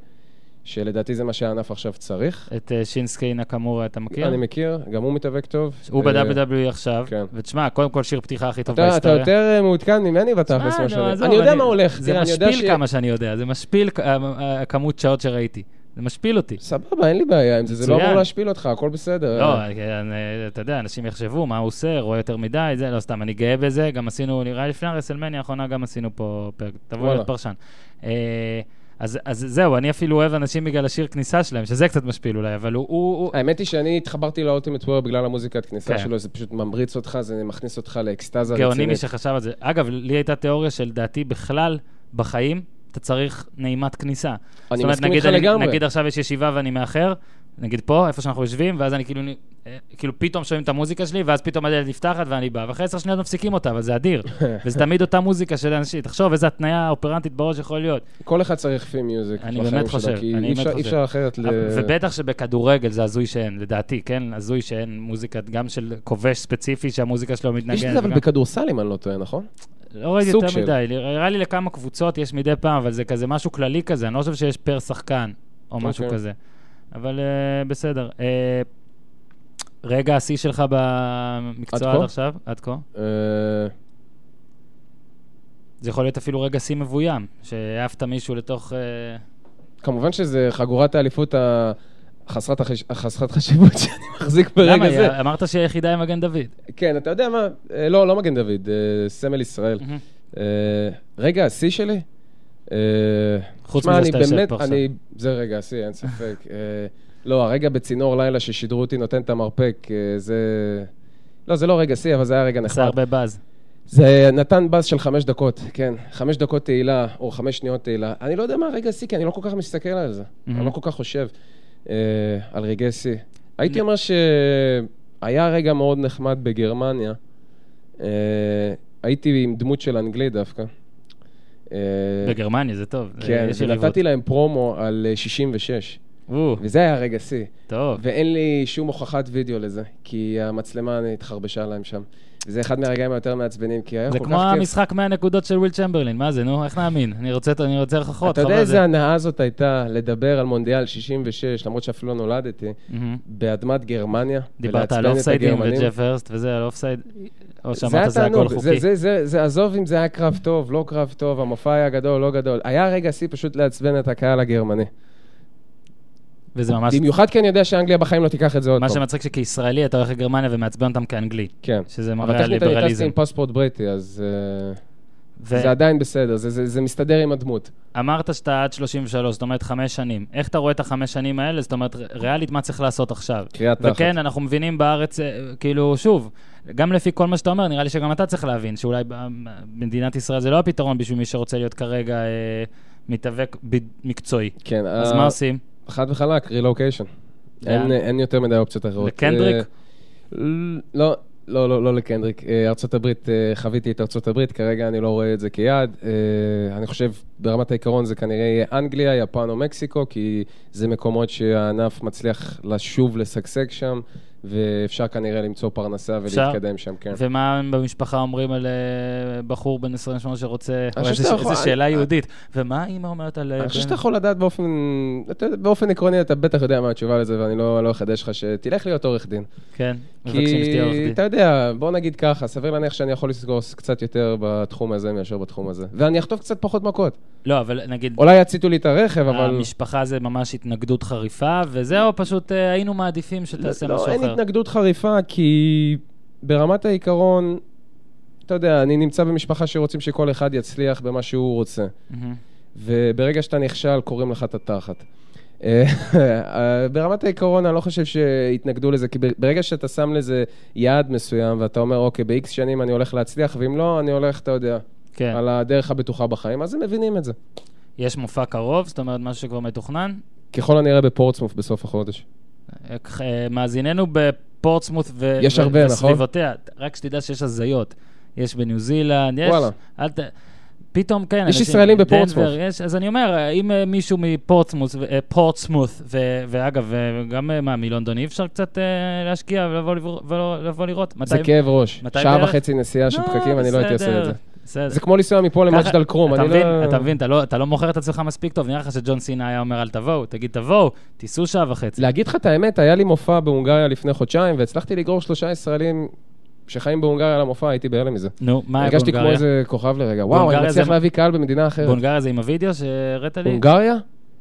B: שלדעתי זה מה שהענף עכשיו צריך.
A: את אה, שינסקי נקמורה אתה מכיר?
B: אני מכיר, גם הוא מתאבק טוב.
A: הוא
B: אה,
A: ב-WWE עכשיו,
B: כן.
A: ותשמע, קודם כל שיר פתיחה הכי טוב
B: אתה, אתה
A: בהיסטוריה.
B: יותר אה, מעודכן ממני בתכלס,
A: אה,
B: מה
A: נו,
B: שאני...
A: עזוב,
B: אני יודע מה הולך,
A: זה
B: תראה, אני יודע
A: משפיל כמה שאני יודע, זה משפיל כ- ה- ה- הכמות שעות שראיתי. זה משפיל אותי.
B: סבבה, אין לי בעיה עם זה, זה לא
A: מצוין.
B: אמור להשפיל אותך, הכל בסדר.
A: לא,
B: אה,
A: אה, אתה יודע, אנשים יחשבו מה הוא עושה, רואה יותר מדי, זה לא סתם, אני גאה בזה, גם עשינו, נראה לי לפני הרסלמניה האחרונה, גם עשינו פה פרק, תבוא
B: וואלה.
A: להיות פרשן. אה, אז, אז זהו, אני אפילו אוהב אנשים בגלל השיר כניסה שלהם, שזה קצת משפיל אולי, אבל הוא... הוא, הוא...
B: האמת היא שאני התחברתי לאולטימט וויר בגלל המוזיקת כניסה
A: כן.
B: שלו, זה פשוט ממריץ אותך, זה מכניס אותך לאקסטזה
A: גאוני מי
B: רצינית.
A: שחשב על זה. אגב, לי הייתה תיאוריה שלדעתי בכלל, בחיים, אתה צריך נעימת כניסה.
B: אני
A: זאת אומרת,
B: מסכים
A: נגיד
B: איתך
A: אני-
B: לגמרי.
A: נגיד עכשיו יש ישיבה ואני מאחר, נגיד פה, איפה שאנחנו יושבים, ואז אני כאילו, נ- אה, כאילו פתאום שומעים את המוזיקה שלי, ואז פתאום הדלת נפתחת ואני בא, ואחרי עשר שניות מפסיקים אותה, אבל זה
B: (laughs)
A: אדיר. וזה תמיד אותה מוזיקה של אנשים. תחשוב איזה התניה אופרנטית בראש יכול להיות.
B: כל אחד צריך פי מיוזיק
A: אני
B: בחיים
A: באמת
B: שלו,
A: חושב,
B: כי
A: אני
B: אי
A: באמת
B: אפשר- אי
A: חושב.
B: אפשר אחרת ל...
A: אבל- ובטח שבכדורגל זה הזוי שאין, לדעתי, כן? הזוי שאין מוזיקה, גם של כובש ספציפי שהמוזיקה שלו מתנגנת.
B: יש את זה אבל
A: וגם-
B: בכדורסל, אם אני לא טועה, נכון?
A: לא ראיתי
B: סוג
A: יותר
B: של.
A: מדי, נראה לי לכמה קבוצות יש מדי פעם, אבל זה כזה משהו כללי כזה, אני לא חושב שיש פר שחקן או משהו
B: אוקיי.
A: כזה. אבל אה, בסדר. אה, רגע השיא שלך במקצוע
B: עד
A: עד
B: כה?
A: עכשיו? עד כה?
B: אה,
A: זה יכול להיות אפילו רגע שיא מבוים, שהעפת מישהו לתוך... אה,
B: כמובן שזה חגורת האליפות ה- חסרת החש- החסרת חשיבות (laughs) שאני מחזיק ברגע
A: למה? אה,
B: זה.
A: אמרת שהיא היחידה עם מגן דוד.
B: כן, אתה יודע מה? אה, לא, לא מגן דוד, אה, סמל ישראל.
A: מהמם.
B: אה, רגע, השיא שלי? אה,
A: חוץ
B: שמע,
A: מזה
B: אני
A: שאתה יושב
B: באמת-
A: פה עכשיו.
B: אני- זה רגע השיא, אין ספק. אה, לא, הרגע בצינור לילה ששידרו אותי נותן את המרפק, אה, זה... לא, זה לא רגע שיא, אבל זה היה רגע
A: עשה
B: נחמד.
A: הרבה באז.
B: זה נתן באז של חמש דקות, כן. חמש דקות תהילה, או חמש שניות תהילה. אני לא יודע מה רגע שיא, כי אני לא כל כך מסתכל על זה.
A: Mhm.
B: אני לא כל כך חושב אה, על רגעי שיא. הייתי
A: נ-
B: אומר שהיה רגע מאוד נחמד בגרמניה. אה, הייתי עם דמות של אנגלי דווקא. אה,
A: בגרמניה, זה טוב. זה-
B: כן,
A: אה, יש יריבות.
B: ונתתי להם פרומו על אה, 66,
A: או,
B: וזה היה רגע שיא.
A: טוב.
B: ואין לי שום הוכחת וידאו לזה, כי המצלמה התחרבשה להם שם. וזה אחד מהרגעים היותר מעצבנים, כי היה כל
A: זה
B: כך כיף.
A: כמו המשחק 100 נקודות של וויל צ'מברלין, מה זה, נו, איך נאמין? אני רוצה אני רוצה הוכחות,
B: אתה יודע
A: חבל על
B: איזה
A: זה.
B: הנאה זאת הייתה לדבר על מונדיאל 66, למרות שאפילו לא נולדתי,
A: מהמם.
B: באדמת גרמניה.
A: דיברת על
B: ולעצבן את
A: אופסיידים
B: הגרמנים?
A: וג'ף הרסט וזה, על אופסייד, או
B: זה היה
A: שאמרת שזה הכל
B: תענוג, זה-
A: חוקי.
B: זה- זה- זה עזוב אם זה היה קרב טוב, לא קרב טוב, המופע היה גדול, לא גדול. היה רגע שיא פשוט לעצבן את הקהל הגרמני.
A: וזה ממש,
B: במיוחד כי אני יודע שאנגליה בחיים לא תיקח את זה עוד
A: מה
B: פעם.
A: שמצחיק שכישראלי אתה הולך לגרמניה ומעצבן אותם כאנגלי,
B: כן.
A: שזה מראה
B: אבל
A: על
B: טכנית אני טסתי
A: ליברליזם.
B: עם פספורט בריטי, אז אה,
A: ו-
B: זה עדיין בסדר, זה- זה זה מסתדר עם הדמות.
A: אמרת שאתה עד 33, זאת אומרת חמש שנים. איך אתה רואה את החמש שנים האלה? זאת אומרת, ר- ריאלית, מה צריך לעשות עכשיו?
B: קריאה תחת.
A: וכן, אנחנו מבינים בארץ, אה, כאילו, שוב, גם לפי כל מה שאתה אומר, נראה לי שגם אתה צריך להבין, שאולי ב- במדינת ישראל זה לא הפתרון בשביל מי שרוצה להיות כרגע אה, מתאבק ב- מקצועי.
B: כן,
A: אז
B: ה-
A: מה עושים?
B: חד וחלק, רילוקיישן.
A: לאן?
B: אין, אין יותר מדי אופציות אחרות.
A: לקנדריק?
B: אה, לא, לא, לא, לא לקנדריק. אה, ארצות הברית, אה, חוויתי את ארצות הברית, כרגע אני לא רואה את זה כיעד. אה, אני חושב, ברמת העיקרון זה כנראה יהיה אנגליה, יפן או מקסיקו, כי זה מקומות שהענף מצליח לשוב לשגשג שם, ואפשר כנראה למצוא פרנסה
A: אפשר?
B: ולהתקדם שם, כן.
A: ומה הם במשפחה אומרים על אה, בחור בן 28 שרוצה...
B: אני חושב
A: איזה
B: שאתה
A: ש-
B: יכול-
A: איזה שאלה
B: אני-
A: יהודית. ומה אימא אומרת על... אה,
B: אני חושב
A: בן-
B: שאתה יכול לדעת באופן, אתה יודע, באופן עקרוני, אתה בטח יודע מה התשובה לזה, ואני לא לא אחדש לך שתלך להיות עורך דין.
A: כן, מבקשים שתהיה עורך
B: כי
A: דין.
B: אתה יודע, בוא נגיד ככה, סביר להניח שאני יכול לסגור קצת יותר בתחום הזה מאשר בתחום הזה. ואני אחטוף קצת פחות מכות.
A: לא, אבל נגיד,
B: אולי יציתו לי את
A: אה,
B: הרכב, אבל...
A: המשפחה זה ממש התנגדות חריפה, וזהו, פשוט אה, היינו מעדיפים שתעשה
B: לא,
A: משהו
B: אין
A: אחר.
B: התנגדות חריפה, כי ברמת העיקרון, אתה יודע, אני נמצא במשפחה שרוצים שכל אחד יצליח במה שהוא רוצה.
A: מהמם.
B: וברגע שאתה נכשל, קוראים לך את התחת. אה, (laughs) ברמת העיקרון, אני לא חושב שיתנגדו לזה, כי ברגע שאתה שם לזה יעד מסוים, ואתה אומר, אוקיי, ב-X שנים אני הולך להצליח, ואם לא, אני הולך, אתה יודע,
A: כן.
B: על הדרך הבטוחה בחיים, אז הם מבינים את זה.
A: יש מופע קרוב, זאת אומרת, משהו שכבר מתוכנן.
B: ככל הנראה בפורטסמוף בסוף החודש.
A: אה, אה, מאזיננו בפורטסמות ו-
B: יש
A: ו-
B: הרבה, נכון?
A: וסביבותיה. רק שתדע שיש הזיות. יש בניו זילנד, יש...
B: וואלה.
A: אל ת... פתאום, כן.
B: יש
A: אנשים-
B: ישראלים בפורטסמות'.
A: דנבר, יש, אז אני אומר, אה, אם אה, מישהו מפורטסמות, אה, פורטסמות, ו- ואגב, אה, גם אה, מה, מלונדון, אי אפשר קצת אה, להשקיע ולבוא לברוא- ולבוא לראות?
B: זה
A: מתי-
B: כאב ראש.
A: מתי
B: שעה
A: בערך?
B: וחצי נסיעה של
A: לא,
B: פקקים, אני לא הייתי עושה את זה.
A: בסדר, בסדר.
B: זה כמו לנסוע מפה למג'דל לא כרום,
A: אתה
B: אני
A: מבין,
B: לא...
A: אתה מבין, אתה לא- אתה לא מוכר את עצמך מספיק טוב, נראה לך שג'ון סינה היה אומר, אל תבואו, תגיד, תבואו, תיסעו שעה וחצי.
B: להגיד לך את האמת, היה לי מופע בהונגריה לפני חודשיים, והצלחתי לגרור שלושה ישראלים שחיים בהונגריה למופע, הייתי בהלם מזה.
A: נו, מה היה
B: לא, הרגשתי כמו
A: בהונגריה?
B: איזה כוכב לרגע. וואו, אני
A: בהונגריה
B: מצליח
A: אה, זה-
B: להביא קהל במדינה אחרת.
A: בהונגריה זה עם הווידאו שהראית לי?
B: הונגריה?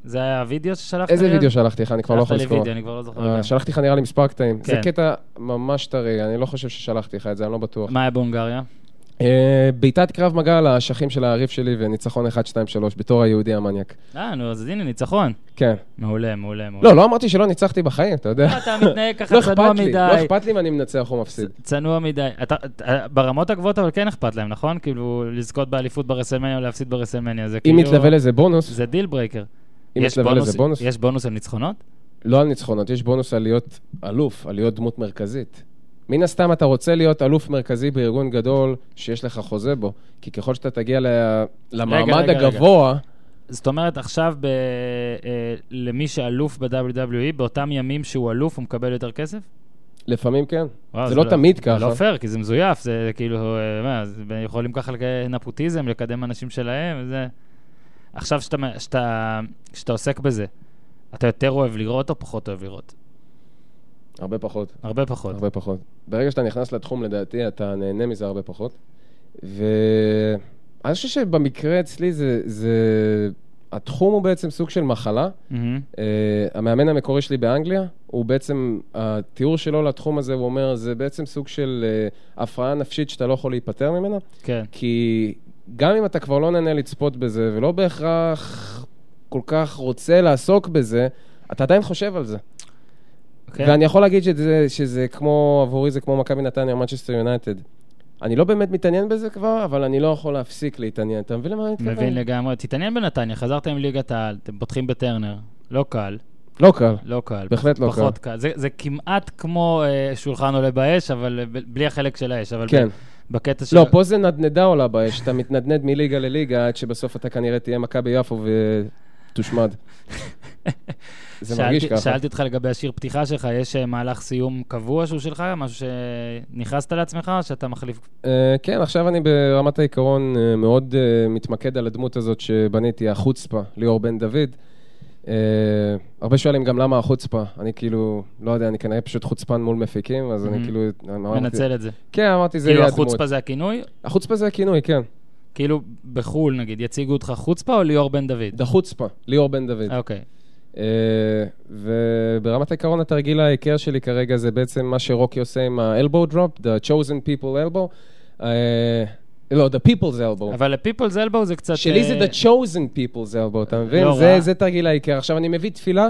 A: זה היה הווידאו ששלחת לי?
B: איזה
A: אז?
B: וידאו שלחתי לך? אני כבר לא יכול
A: שלחת לי
B: לזכור.
A: וידאו, אני כבר לא זוכר.
B: אה,
A: בדיוק.
B: שלחתי לך נראה לי מספר קטעים. זה
A: כן.
B: קטע ממש טרי, אני לא חושב ששלחתי לך את זה, אני לא בטוח.
A: מה היה בהונגריה?
B: אה, בעיטת קרב מגע על האשכים של היריב שלי וניצחון 1, 2, 3 בתור היהודי המניאק.
A: אה, נו, אז הנה, ניצחון.
B: כן.
A: מעולה, מעולה, מעולה.
B: לא, לא אמרתי שלא ניצחתי בחיים, אתה יודע.
A: אתה מתנהג ככה
B: לא
A: צנוע
B: אכפת לי, לא
A: מדי.
B: אכפת לי אם אני מנצח או מפסיד.
A: צנוע מדי. אתה, אתה- ברמות הגבוהות אבל כן אכפת להם, נכון? כאילו, לזכות באליפות ברסלמניה או להפסיד ברסלמניה, זה
B: אם
A: כאילו...
B: מתלווה לזה בונוס,
A: זה דיל ברייקר.
B: אם
A: יש
B: מתלווה לזה בונוס,
A: יש בונוס על ניצחונות?
B: לא על ניצחונות, יש בונוס על להיות אלוף, על להיות דמות מרכזית. מן הסתם אתה רוצה להיות אלוף מרכזי בארגון גדול שיש לך חוזה בו, כי ככל שאתה תגיע ל- למעמד
A: רגע, רגע.
B: הגבוה,
A: זאת אומרת, עכשיו ב... אה, למי שאלוף ב-WWE, באותם ימים שהוא אלוף, הוא מקבל יותר כסף?
B: לפעמים כן.
A: וואו,
B: זה לא תמיד
A: אה, זה
B: ככה.
A: לא פייר, כי זה מזויף, זה כאילו, אה, מה, זה- יכולים ככה לק- נפוטיזם, לקדם אנשים שלהם, וזה... עכשיו שאתה, מ- שאתה, שאתה עוסק בזה, אתה יותר אוהב לראות או פחות אוהב לראות?
B: הרבה פחות.
A: הרבה פחות.
B: הרבה פחות. ברגע שאתה נכנס לתחום, לדעתי, אתה נהנה מזה הרבה פחות. ואני חושב שבמקרה אצלי זה... זה... התחום הוא בעצם סוג של מחלה.
A: מהמם.
B: Uh, המאמן המקורי שלי באנגליה, הוא בעצם, התיאור שלו לתחום הזה, הוא אומר, זה בעצם סוג של uh, הפרעה נפשית שאתה לא יכול להיפטר ממנה,
A: כן.
B: כי גם אם אתה כבר לא נהנה לצפות בזה, ולא בהכרח כל כך רוצה לעסוק בזה, אתה עדיין חושב על זה.
A: כן.
B: כן. ואני יכול להגיד שזה, שזה כמו, עבורי זה כמו מכבי נתניה, מנצ'סטר יונייטד. אני לא באמת מתעניין בזה כבר, אבל אני לא יכול להפסיק להתעניין. אתה מבין למה אני מתכוון?
A: מבין לגמרי. תתעניין בנתניה, חזרתם ליגת העל, אתם פותחים בטרנר. לא קל,
B: לא קל.
A: לא קל.
B: בהחלט לא
A: פחות קל. זה, זה כמעט כמו אה, שולחן עולה באש, אבל אה, ב- בלי החלק של האש. אבל
B: כן.
A: ב- בקטע של...
B: לא, פה זה נדנדה עולה באש, אתה מתנדנד מליגה לליגה, עד שבסוף אתה כנראה תהיה מכבי יפו
A: (laughs)
B: ותושמד. זה מרגיש
A: שאלתי-
B: ככה.
A: שאלתי אותך לגבי השיר פתיחה שלך, יש אה, מהלך סיום קבוע שהוא שלך? משהו שנכנסת לעצמך, או שאתה מחליף?
B: אה, כן, עכשיו אני ברמת העיקרון אה, מאוד אה, מתמקד על הדמות הזאת שבניתי, החוצפה, ליאור בן דוד. אה, הרבה שואלים גם למה החוצפה. אני כאילו, לא יודע, אני כנראה פשוט חוצפן מול מפיקים, אז אני
A: Mhm.
B: כאילו... אמרתי-
A: מנצל את זה.
B: כן, אמרתי, זה
A: כאילו
B: יהיה הדמות.
A: החוצפה זה הכינוי?
B: החוצפה זה הכינוי, כן.
A: כאילו בחו"ל, נגיד, יציגו אותך חוצפה או ליאור בן דוד?
B: דחוצפה, ליאור בן דוד.
A: אוקיי.
B: אה, וברמת העיקרון התרגיל העיקר שלי כרגע זה בעצם מה שרוקי עושה עם ה-elbow drop, the chosen people elbow. אה, לא, the people's elbow.
A: אבל ל-People's Elbow זה קצת...
B: שלי זה
A: אה,
B: the chosen people's elbow, אתה מבין?
A: לא
B: זה-
A: רע.
B: זה תרגיל העיקר. עכשיו אני מביא תפילה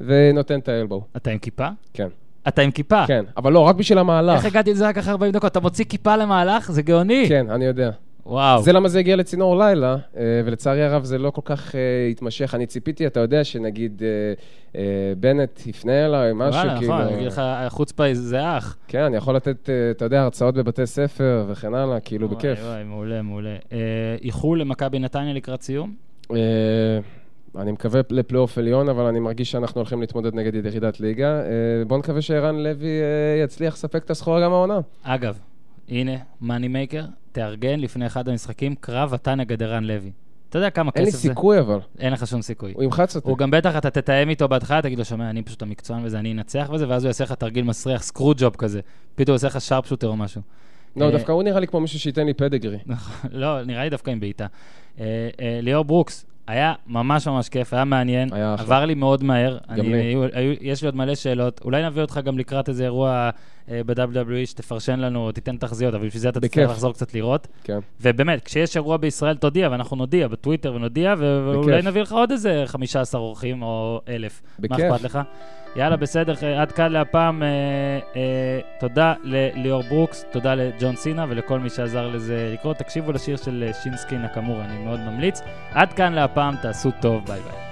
B: ונותן את האלבו,
A: אתה עם כיפה?
B: כן.
A: אתה עם כיפה.
B: כן, אבל לא, רק בשביל המהלך.
A: אה. איך הגעתי לזה רק אחרי 40 דקות? אתה מוציא כיפה למהלך? זה גאוני.
B: כן, אני יודע.
A: וואו.
B: זה לא למה זה הגיע לצינור לילה, אה, ולצערי הרב זה לא כל כך אה, התמשך. אני ציפיתי, אתה יודע, שנגיד אה, אה, בנט יפנה אליי, משהו
A: וואלה,
B: כאילו...
A: נכון, אני אגיד לך, החוצפה היא- זה אח.
B: כן, אני יכול לתת, אה, אתה יודע, הרצאות בבתי ספר וכן הלאה, כאילו,
A: וואי,
B: בכיף.
A: וואי, מעולה, מעולה. אה, איחול למכבי נתניה לקראת סיום?
B: אה, אני מקווה לפלייאוף עליון, אבל אני מרגיש שאנחנו הולכים להתמודד נגד ירידת ליגה. אה, בואו נקווה שערן לוי אה, יצליח לספק את הסחורה גם העונה.
A: אגב, הנה, מאני מייקר, תארגן לפני אחד המשחקים קרב אתה נגד ערן לוי. אתה יודע כמה
B: אין לי
A: כסף זה?
B: סיכוי אבל,
A: אין לך שום סיכוי.
B: הוא ימחץ אותי.
A: הוא גם בטח, אתה תתאם איתו בהתחלה, תגיד לו, שומע, אני פשוט המקצוען וזה, אני אנצח וזה, ואז הוא יעשה לך תרגיל מסריח, סקרו ג'וב כזה. פתאום הוא יעשה לך שרפשוטר או משהו.
B: לא,
A: אה,
B: דווקא הוא נראה לי כמו מישהו שייתן לי פדגרי.
A: נכון, לא, נראה לי דווקא עם בעיטה. אה, אה, ליאור ברוקס, היה ממש ממש כיף, היה מעניין.
B: היה אחלה.
A: עבר לי מאוד מהר.
B: גם
A: אני-
B: לי.
A: היו- היו- יש לי עוד מלא שאלות. אולי נביא אותך גם לקראת איזה אירוע אה, ב-WWE שתפרשן לנו, או תיתן תחזיות, אבל בשביל זה אתה תצטרך
B: בכיף.
A: לחזור קצת לראות.
B: כן.
A: ובאמת, כשיש אירוע בישראל, תודיע, ואנחנו נודיע בטוויטר ונודיע, ו-
B: בכיף.
A: ואולי נביא לך עוד איזה 15 אורחים או אלף. מה
B: בכיף.
A: אכפת לך? יאללה, בסדר, אה, עד כאן להפעם. אה, אה, תודה לליאור ברוקס, תודה לג'ון סינה ולכל מי שעזר לזה לקרות. תקשיבו לשיר של אה, שינסקי נקמורה, אני מאוד ממליץ. עד כאן להפעם, תעשו טוב, ביי ביי.